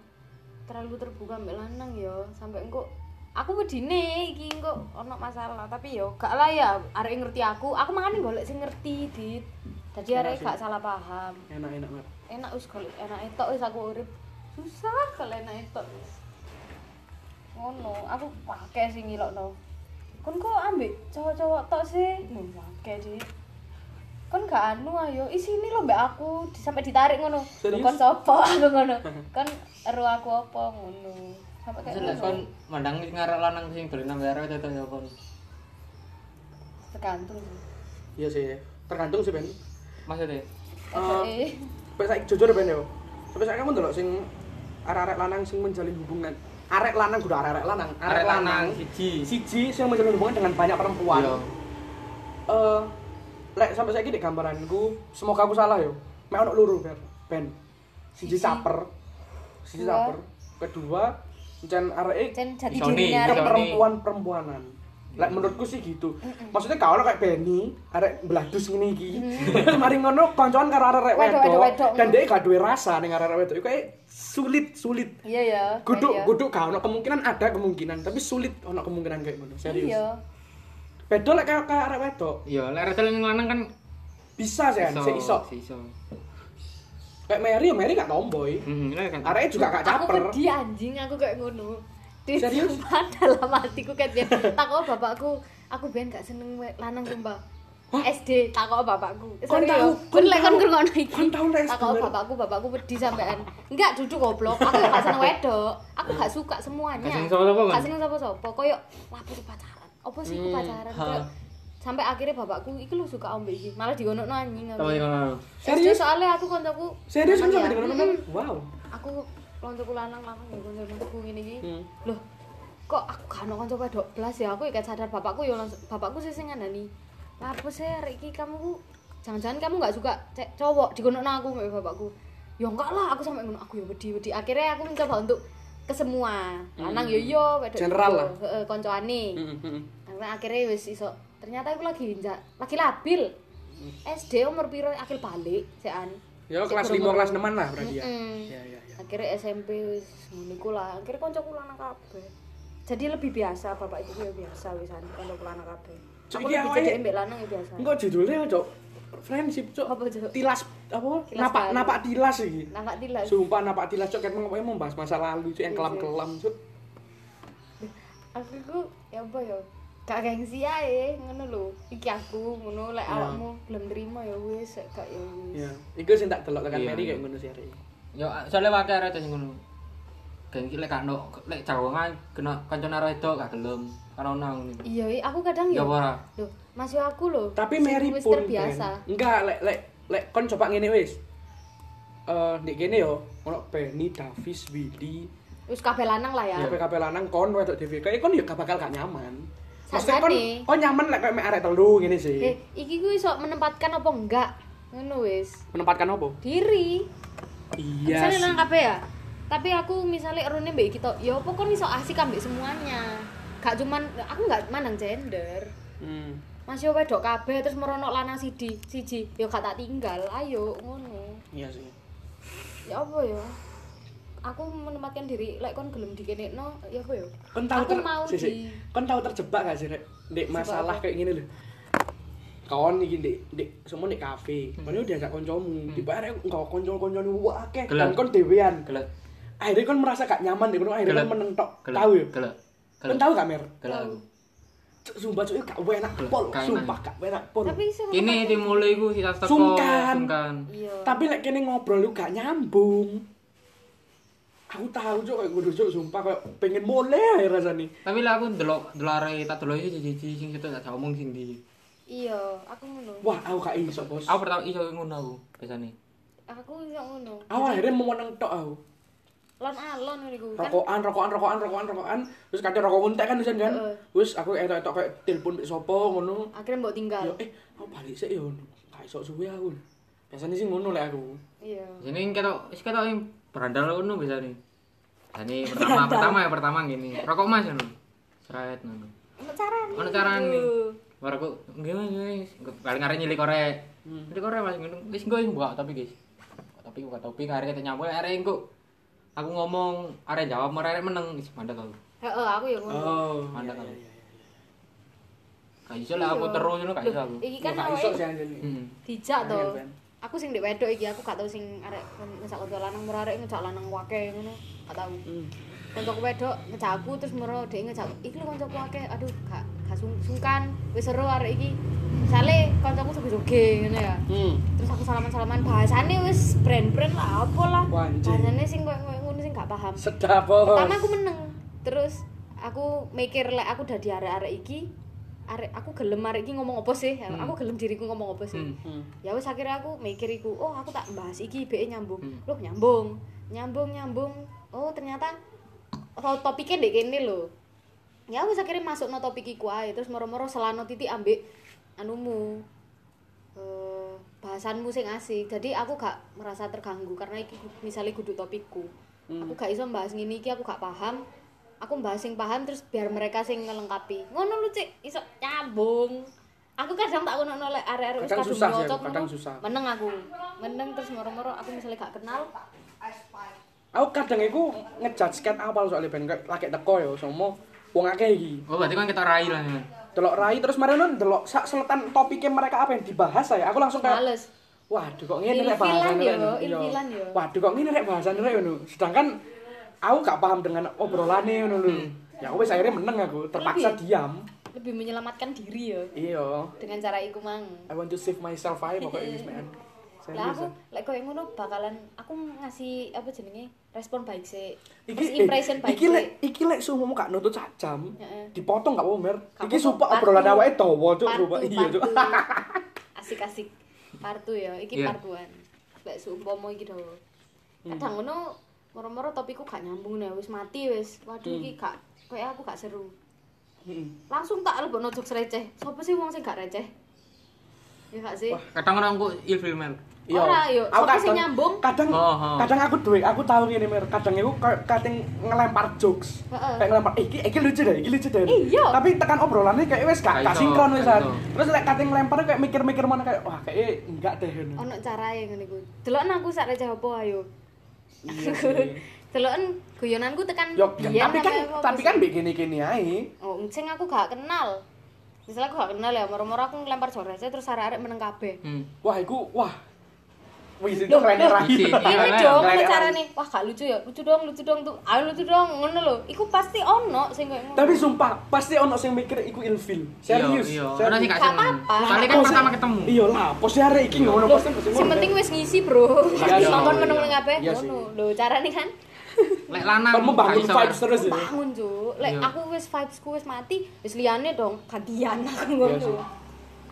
S2: Terlalu terbuka mbek lanang ya, sampai engko aku wedine iki engko ono masalah, tapi yo gak lah ya arek ngerti aku. Aku mangane golek sing ngerti, Dit. Dadi arek gak salah paham.
S1: Enak-enak, Mer.
S2: Enak wis golek enak etok wis aku urip. Susah kalau enak etok wis. ngono aku pakai sih ngilokno kon kok ambek cowok-cowok tok sih nih pakai sih kon gak anu ayo isini lo mbak aku di- sampai ditarik ngono Lho,
S1: Serius?
S2: kon sopo aku ngono kon ero aku apa ngono sampai kayak
S3: Maksudnya
S2: ngono.
S3: kon mandang sing arek lanang sing dolen nang arek tetok ya kon.
S2: tergantung sih
S1: iya sih tergantung sih ben Eh,
S3: Maksudnya
S2: Pokoknya-
S1: Sampai saya jujur ya, ben yo. Sampai saya kamu ndelok sing arek-arek lanang sing menjalin hubungan. Arek lanang kudu arek-arek lanang,
S3: arek lanang siji.
S1: siji sing menjalin hubungan dengan banyak perempuan.
S3: Iya.
S1: Eh lek sampai saiki di gambaranku, semoga aku salah yo. Mek ono loro ben. ben. Siji
S2: Siji.
S1: caper. Siji
S2: Dua.
S1: caper. Kedua, ncen arek
S2: Jen jati
S3: Isoni,
S2: dirinya
S3: isoni.
S2: arek
S1: perempuan-perempuanan. Lek menurutku sih gitu. Maksudnya kalau kayak Benny, arek bladus ngene iki. Mari ngono kancoan karo arek
S2: Wedok,
S1: wedok.
S2: Hmm. wedok,
S1: Dan dia gak duwe rasa ning arek wedok. Iku kayak sulit, sulit.
S2: iya ya
S1: Guduk,
S2: iya.
S1: guduk gak ono kemungkinan ada kemungkinan, tapi sulit ono kemungkinan kayak ngono.
S2: iya
S1: Serius. Beda lek kayak kayak arek wedok.
S3: Iya, lek arek telan lanang kan
S1: Bisa sih kan, sik iso.
S3: Si iso.
S1: Kayak Mary, ya Mary gak tomboy.
S3: Heeh, Mhm, lek kan.
S1: Arek juga gak
S2: aku
S1: caper.
S2: pedih anjing aku kayak ngono Di-
S1: Serius?
S2: sumpah, dalam hatiku kayak biar takut bapakku aku biar gak seneng we- lanang sumpah SD takut bapakku
S1: Kon Kan tahu, kon
S2: kon lek kon
S1: tahu.
S2: ngrungokno iki
S1: Kon tahu lek
S2: takut
S1: sebenarnya.
S2: bapakku bapakku pedih sampean enggak duduk goblok aku gak seneng wedok aku gak suka semuanya
S3: Gak seneng sapa-sapa, Kon?
S2: gak seneng sapa-sapa koyo lapo sih pacaran apa sih iku
S3: Hmm,
S2: pacaran
S3: ha.
S2: Koyo sampai akhirnya bapakku iki lu suka ombe iki malah digonokno anjing aku.
S3: Tahu iki kan.
S2: SD
S1: Serius?
S2: soalnya aku koncoku
S1: Serius kan
S2: Lanang
S1: sampai
S2: ya.
S1: dengan
S2: Mm-mm.
S1: teman Wow.
S2: aku loncoku lanang lanang ya konco koncoku ngene iki.
S1: Hmm.
S2: Loh, kok aku gak ono kanca wedok blas ya aku ya gak sadar bapakku ya langsung bapakku sih sing ngandani. Lah apa sih arek iki kamu ku jangan-jangan kamu gak suka cek cowok digonokno aku mbek bapakku. Ya enggak lah, aku sampe ngono aku ya wedi-wedi. Akhirnya aku mencoba untuk ke semua. Lanang yo yo, wedok
S1: Hmm. General
S2: yo yo.
S1: lah.
S2: Heeh, koncoane.
S1: Mm, mm, mm.
S2: Karena akhirnya wis iso. Ternyata aku lagi njak, lagi labil. SD umur piro akil balik sekan.
S1: Hmm. Ya
S2: Sik
S1: kelas 5
S2: guru-guru.
S1: kelas 6 lah berarti ya.
S2: Mm-mm.
S1: Ya ya ya.
S2: akhirnya SMP wis ngono iku lah akhirnya kancaku lanang kabeh jadi lebih biasa bapak ibu ya biasa wisan kancaku lanang kabeh
S1: Cuk,
S2: aku
S1: iki
S2: lebih
S1: awake-
S2: jadi mbek lanang ya biasa
S1: Engko judulnya cok friendship cok.
S2: Apa, Cok?
S1: Tilas apa?
S2: Tilas
S1: napak
S2: baru.
S1: napak tilas iki.
S2: nampak tilas
S1: Sumpah napak tilas cok kan ngomongnya membahas masa lalu cok yang
S2: Iya,
S1: kelam-kelam cok.
S2: aku ku ya apa ya gak gengsi ae ngono lho iki aku ngono lek
S1: Ya.
S2: awakmu belum terima ya wis lek gak ya wis
S1: Iya. Iku sing tak delok tekan
S3: Iya.
S1: Mary kayak ngono sih hari ini.
S3: Yo soalnya wae arek sing ngono. Gengki lek kano lek jawangan kena kancane arek wedok gak gelem. Karena nang ngene.
S2: iya i, aku kadang
S3: Ya
S2: ya
S3: apa ora?
S2: lho masih aku lho
S1: Tapi
S2: sing
S1: Mary
S2: wis
S1: pun
S2: terbiasa
S1: Ben. Enggak lek lek lek kon coba ngene wis. Eh ndek kene yo ono Benny, Davis, Willy,
S2: wis kabeh lanang lah ya
S1: yeah. PKP lanang kon wedok dhewe kayak kon yo gak bakal gak nyaman. Maksudnya
S2: Saat
S1: kon,
S2: ini.
S1: kon nyaman lek kayak mek arek telu ngene sih.
S2: eh iki ku iso menempatkan apa enggak ngono wis
S1: Menempatkan apa?
S2: diri
S1: Iya.
S2: misalnya
S1: sih.
S2: nang kabeh ya tapi aku misalnya erone mbek kita ya apa kon iso asik ambek semuanya gak cuman aku gak mandang gender
S1: Hmm.
S2: masih wedok kabeh terus meronok lanang siji siji ya gak tak tinggal ayo ngono
S1: Iya sih.
S2: ya apa ya aku menempatkan diri lek kon gelem dikenekno ya apa ya
S1: Kon tahu
S2: aku mau
S1: sik, sik.
S2: di
S1: Kon tahu terjebak gak sih, Rek? Ndek masalah
S2: apa?
S1: kayak gini lho. Kon iki ndek ndek semua ndek kafe.
S2: Hmm.
S1: Kon udah diajak kancamu, tiba arek engko kanca-kancane akeh
S3: Gelap.
S1: dan kon dhewean.
S3: Gelek.
S1: Akhirnya kon merasa gak nyaman deh, kon akhirnya kon
S3: Gelap.
S1: menentok.
S3: Gelek.
S1: Tahu ya?
S3: Gelek.
S1: Kon
S3: Gelek.
S1: tahu gak, Mer?
S3: Gelek. aku.
S1: Cuk, Sumpah cuy gak enak
S3: Gelap,
S1: pol,
S3: gak enak.
S1: sumpah gak enak pol.
S2: tapi iso
S3: Kini
S2: menempatkan-
S3: dimulai iku sita teko
S1: Sungkan.
S3: sungkan.
S2: iya
S1: Tapi lek kene ngobrol lu gak nyambung. Aku tahu cuk kayak kudu cuk sumpah kayak pengen mulai ae rasane.
S3: Tapi lah aku ndelok delare tak delok iki siji sing situ tak jauh omong sing di.
S2: iya aku ngono
S1: Wah, aku gak iso, Bos.
S3: Aku pertama iso ngono aku biasane.
S2: aku iso ngono
S1: Aku akhirnya mau menentok aku.
S2: lon alon niku kan
S1: rokokan rokokan rokokan rokokan rokokan terus kadang rokok untek kan jan jan
S2: Heeh.
S1: terus aku etok etok kayak telepon mbek sapa ngono
S2: akhirnya mbok tinggal
S1: yo eh aku balik sik yo gak iso suwe aku biasanya sih ngono lek aku
S2: iya
S3: Sini ketok wis ketok yang berandal ngono biasane. Jane pertama pertama ya pertama gini. Rokok Mas ngono. Seret ngono.
S2: Ono carane.
S3: Ono carane.
S2: Lho.
S3: Ora kok nggih Mas, wis paling arek nyelik korek.
S2: Hmm.
S3: Nyelik korek Mas ngono. Wis engko wis mbok tapi guys. Mbok Tapi buka topi arek kita nyambung arek engko. Aku ngomong arek jawab mereka arek meneng wis mandek aku.
S2: Heeh, aku ya ngono.
S1: oh
S3: Mantap
S1: iya,
S3: kan?
S1: iya, iya.
S3: Gak iso lah aku
S2: Iya.
S3: terus ngono gak iso
S2: Loh,
S3: aku. Hmm.
S2: Iki kan
S1: Yo, gak iso
S2: awake
S1: sih anjen
S3: Heeh.
S2: dijak to.
S1: Angel, Ben.
S2: Aku sing ndek wedok iki, aku gak tau sing arek ngejak kanca lanang murah arek ngejak lanang wake ngono. Gak tau.
S1: Hmm.
S2: kanca kowe dok ngejak aku terus mero dhek ngejak aku. iki lho kancaku akeh aduh gak gak sung- sungkan wis seru arek iki misale kancaku soge-soge ngene ya
S1: hmm
S2: terus aku salaman-salaman bahasane wis brand-brand lah apa lah
S1: Wah, anjing.
S2: bahasane sing koyo koyo ngono sing gak paham
S1: sedap bos
S2: pertama aku meneng terus aku mikir lek aku udah di arek-arek iki arek aku gelem arek iki ngomong apa sih
S3: Hmm.
S2: aku gelem diriku ngomong apa sih
S3: Hmm.
S1: Hmm.
S2: ya wis akhirnya aku mikir iku oh aku tak bahas iki be nyambung
S3: Hmm.
S2: loh nyambung nyambung nyambung oh ternyata ro- topiknya ndek kene lho ya wis akhirnya masuk no topik iku ae terus moro-moro selano titik ambek anumu eh bahasanmu sing asik jadi aku gak merasa terganggu karena iki gu- misalnya kudu topikku aku gak iso bahas ngene iki aku gak paham aku bahas sing paham terus biar mereka sing ngelengkapi ngono lu cik iso nyambung aku kadang tak ngono oleh arek-arek wis
S1: Kadang
S2: kadung
S1: susah, Sel.
S2: nyocok
S1: Kadang
S2: ngono.
S1: susah.
S2: meneng aku meneng terus moro-moro aku misalnya gak kenal
S1: aku kadang iku ngejudge ket awal soalnya ben kayak laki teko ya sama wong akeh iki
S3: Oh, berarti kan kita raih lah ya.
S1: delok rai terus mari ngono delok sak seletan topiknya mereka apa yang dibahas saya aku langsung kayak
S2: males
S1: waduh kok ngene lek
S2: Ilfilan
S1: bahasane
S2: yo,
S1: rek ngono." Iya.
S2: ilfilan yo.
S1: waduh kok ngene lek bahasane rek ngono sedangkan aku gak paham dengan obrolane ngono lho ya wis akhirnya meneng aku terpaksa
S2: Lebih.
S1: diam
S2: lebih menyelamatkan diri ya
S1: iya
S2: dengan cara iku mang
S1: I want to save myself aja pokoknya wis men
S2: lah
S1: Serius,
S2: aku
S1: ya.
S2: lek koyo ngono bakalan aku ngasih apa jenenge respon baik sih terus
S1: Iki impression
S2: impression baik
S1: Iki lek
S2: sih
S1: iki lek sumu gak nutut sak jam.
S2: Heeh.
S1: Dipotong gak apa-apa, Mer.
S2: Gak
S1: Iki
S2: apa-apa,
S1: sumpah
S2: partu.
S1: obrolan awake dawa, Cuk,
S2: partu
S1: sumpah. Iya, Cuk.
S2: partu asik asik partu ya iki
S3: Iya.
S2: partuan lek seumpama iki do
S1: Hmm.
S2: kadang ngono moro-moro topiku gak nyambung nih wis mati wis waduh
S1: Hmm.
S2: iki gak kayak aku gak seru
S1: Heeh.
S2: langsung tak lebokno jokes receh sopo sih wong sing gak receh ya gak sih
S1: Wah,
S3: Kadang orang kok ilfil men.
S1: Iya.
S2: Ora, yo.
S1: Aku
S2: Sopo sing
S1: kadang-
S2: nyambung?
S1: Kadang
S3: Oh, oh.
S1: kadang aku duwe, aku tahu ngene, Mer. Kadang aku kayak kadang ngelempar jokes.
S2: Heeh.
S1: Kayak ngelempar, "Eh, iki iki lucu deh, iki lucu deh.
S2: Iya.
S1: Tapi tekan obrolannya kayak wis gak
S3: Gak
S1: gak
S3: iso,
S1: sinkron
S3: gak
S1: wis. An.
S3: iso.
S1: Terus lek kadang ngelempar kayak mikir-mikir mana kayak wah kayak enggak deh. ngono.
S2: ono carae ngene iku deloken aku sak receh opo ayo
S1: Iya sih.
S2: deloken guyonanku tekan
S1: Yo,
S2: biyen
S1: tapi kan
S2: apa apa
S1: tapi
S2: sih.
S1: kan bikin gini ae.
S2: Oh, sing aku gak kenal. Misalnya aku gak kenal ya, moro-moro aku ngelempar jorasnya terus arek-arek meneng kabeh.
S3: Hmm.
S1: Wah, iku wah. Wis itu
S2: Loh,
S1: keren
S2: loh.
S1: rai.
S2: Ini
S3: Iki. Ngelelek,
S2: dong
S1: ngelelek.
S2: cara nih. Wah, gak lucu ya. Lucu dong, lucu dong tuh. Ayo lucu dong, ngono lho. Iku pasti ono sing koyo ngono.
S1: Tapi sumpah, pasti ono sing mikir iku ilfil. Serius.
S3: Iya, iya. Orang sih gak
S2: Gak
S3: seneng.
S2: apa-apa.
S3: Soalnya kan
S1: Lah,
S3: pertama
S1: kok sih-
S3: ketemu.
S1: Iya lah, pos arek iki
S3: Iya.
S1: ngono
S2: Loh,
S1: pos sing
S2: sing penting wis ngisi, Bro.
S1: Iya,
S2: Wis
S1: iya,
S2: nonton
S1: iya.
S2: meneng meneng kabeh
S1: Iya sih.
S2: ngono. Lho, carane kan
S3: Lek lanang
S1: kamu bangun
S3: gak iso.
S1: vibes terus ya.
S2: bangun, Cuk. Lek
S3: Iya.
S2: aku wis vibesku wis mati, wis liyane dong gantian aku
S1: Iya sih.
S2: ngono.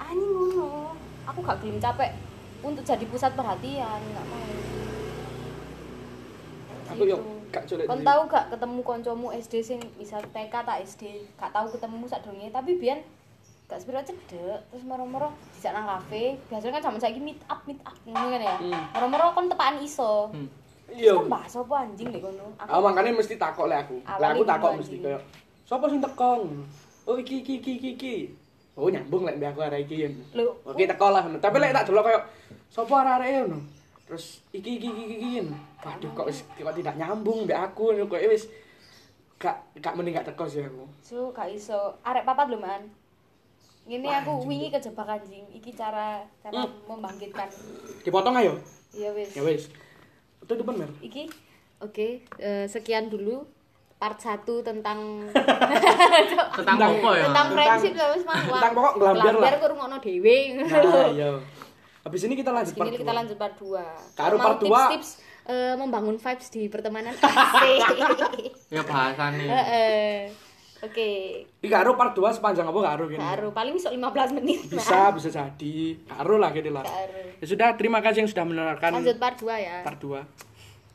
S2: Anjing ngono. Aku gak gelem capek untuk jadi pusat perhatian, gak mau.
S1: Aku yo
S2: Gitu.
S1: gak colek.
S2: Kon
S1: dulu.
S2: tahu gak ketemu koncomu SD sing bisa TK tak SD, gak tahu ketemu sadurunge, tapi biyen gak sepiro cedek, terus moro-moro dijak nang kafe, biasanya kan zaman saiki meet up, meet up ngono kan ya.
S1: Hmm.
S2: Moro-moro kon tepakan iso.
S3: Hmm.
S1: Iya.
S2: Terus kon bahas apa anjing lek kono?
S1: Ah makane mesti takok lek aku. Lek
S2: Awalnya
S1: aku takok
S2: ngono
S1: mesti
S2: anjing.
S1: koyo sapa sing tekong? Oh iki iki iki iki iki. Oh nyambung lek mbek aku arek iki. yen.
S2: Lho, oh.
S1: Oke teko lah ngono. Tapi lek tak delok koyo sapa arek-arek iki, ngono. Terus iki iki iki iki iki, ngono. Waduh kok wis kok tidak nyambung mbek aku ngono koyo wis gak gak mending gak teko sih aku.
S2: Su gak iso. Arek papat lho, Man. Ngene
S1: Wah,
S2: aku
S1: anjing. Hmm.
S2: wingi kejebak anjing. Iki cara cara membangkitkan.
S1: Dipotong ayo.
S2: Iya wis.
S1: Ya wis. Tutupan Mer.
S2: Iki Oke, eh, sekian dulu part 1 tentang
S3: Tentang apa ya?
S2: tentang
S1: Oh, iya. Tentang-
S2: friendship terus mawar
S1: tentang pokok ngelambiar lah.
S2: ngelambiar kurung ngono dhewe
S1: Nah, Ah, iya. Habis ini kita lanjut part
S2: Segini kita
S1: dua.
S2: lanjut part 2
S1: Karo part dua.
S2: tips-tips eh, membangun vibes di pertemanan asik
S3: Ya
S2: Eh,
S3: bahasane.
S2: Heeh. oke
S1: Ini karo part 2 sepanjang apa karo gini.
S2: karo paling iso 15 menit Mas.
S1: Bisa, bisa jadi. Karo lah gini lah.
S2: karo
S1: Ya sudah, terima kasih yang sudah mendengarkan
S2: lanjut part 2 ya
S1: part 2.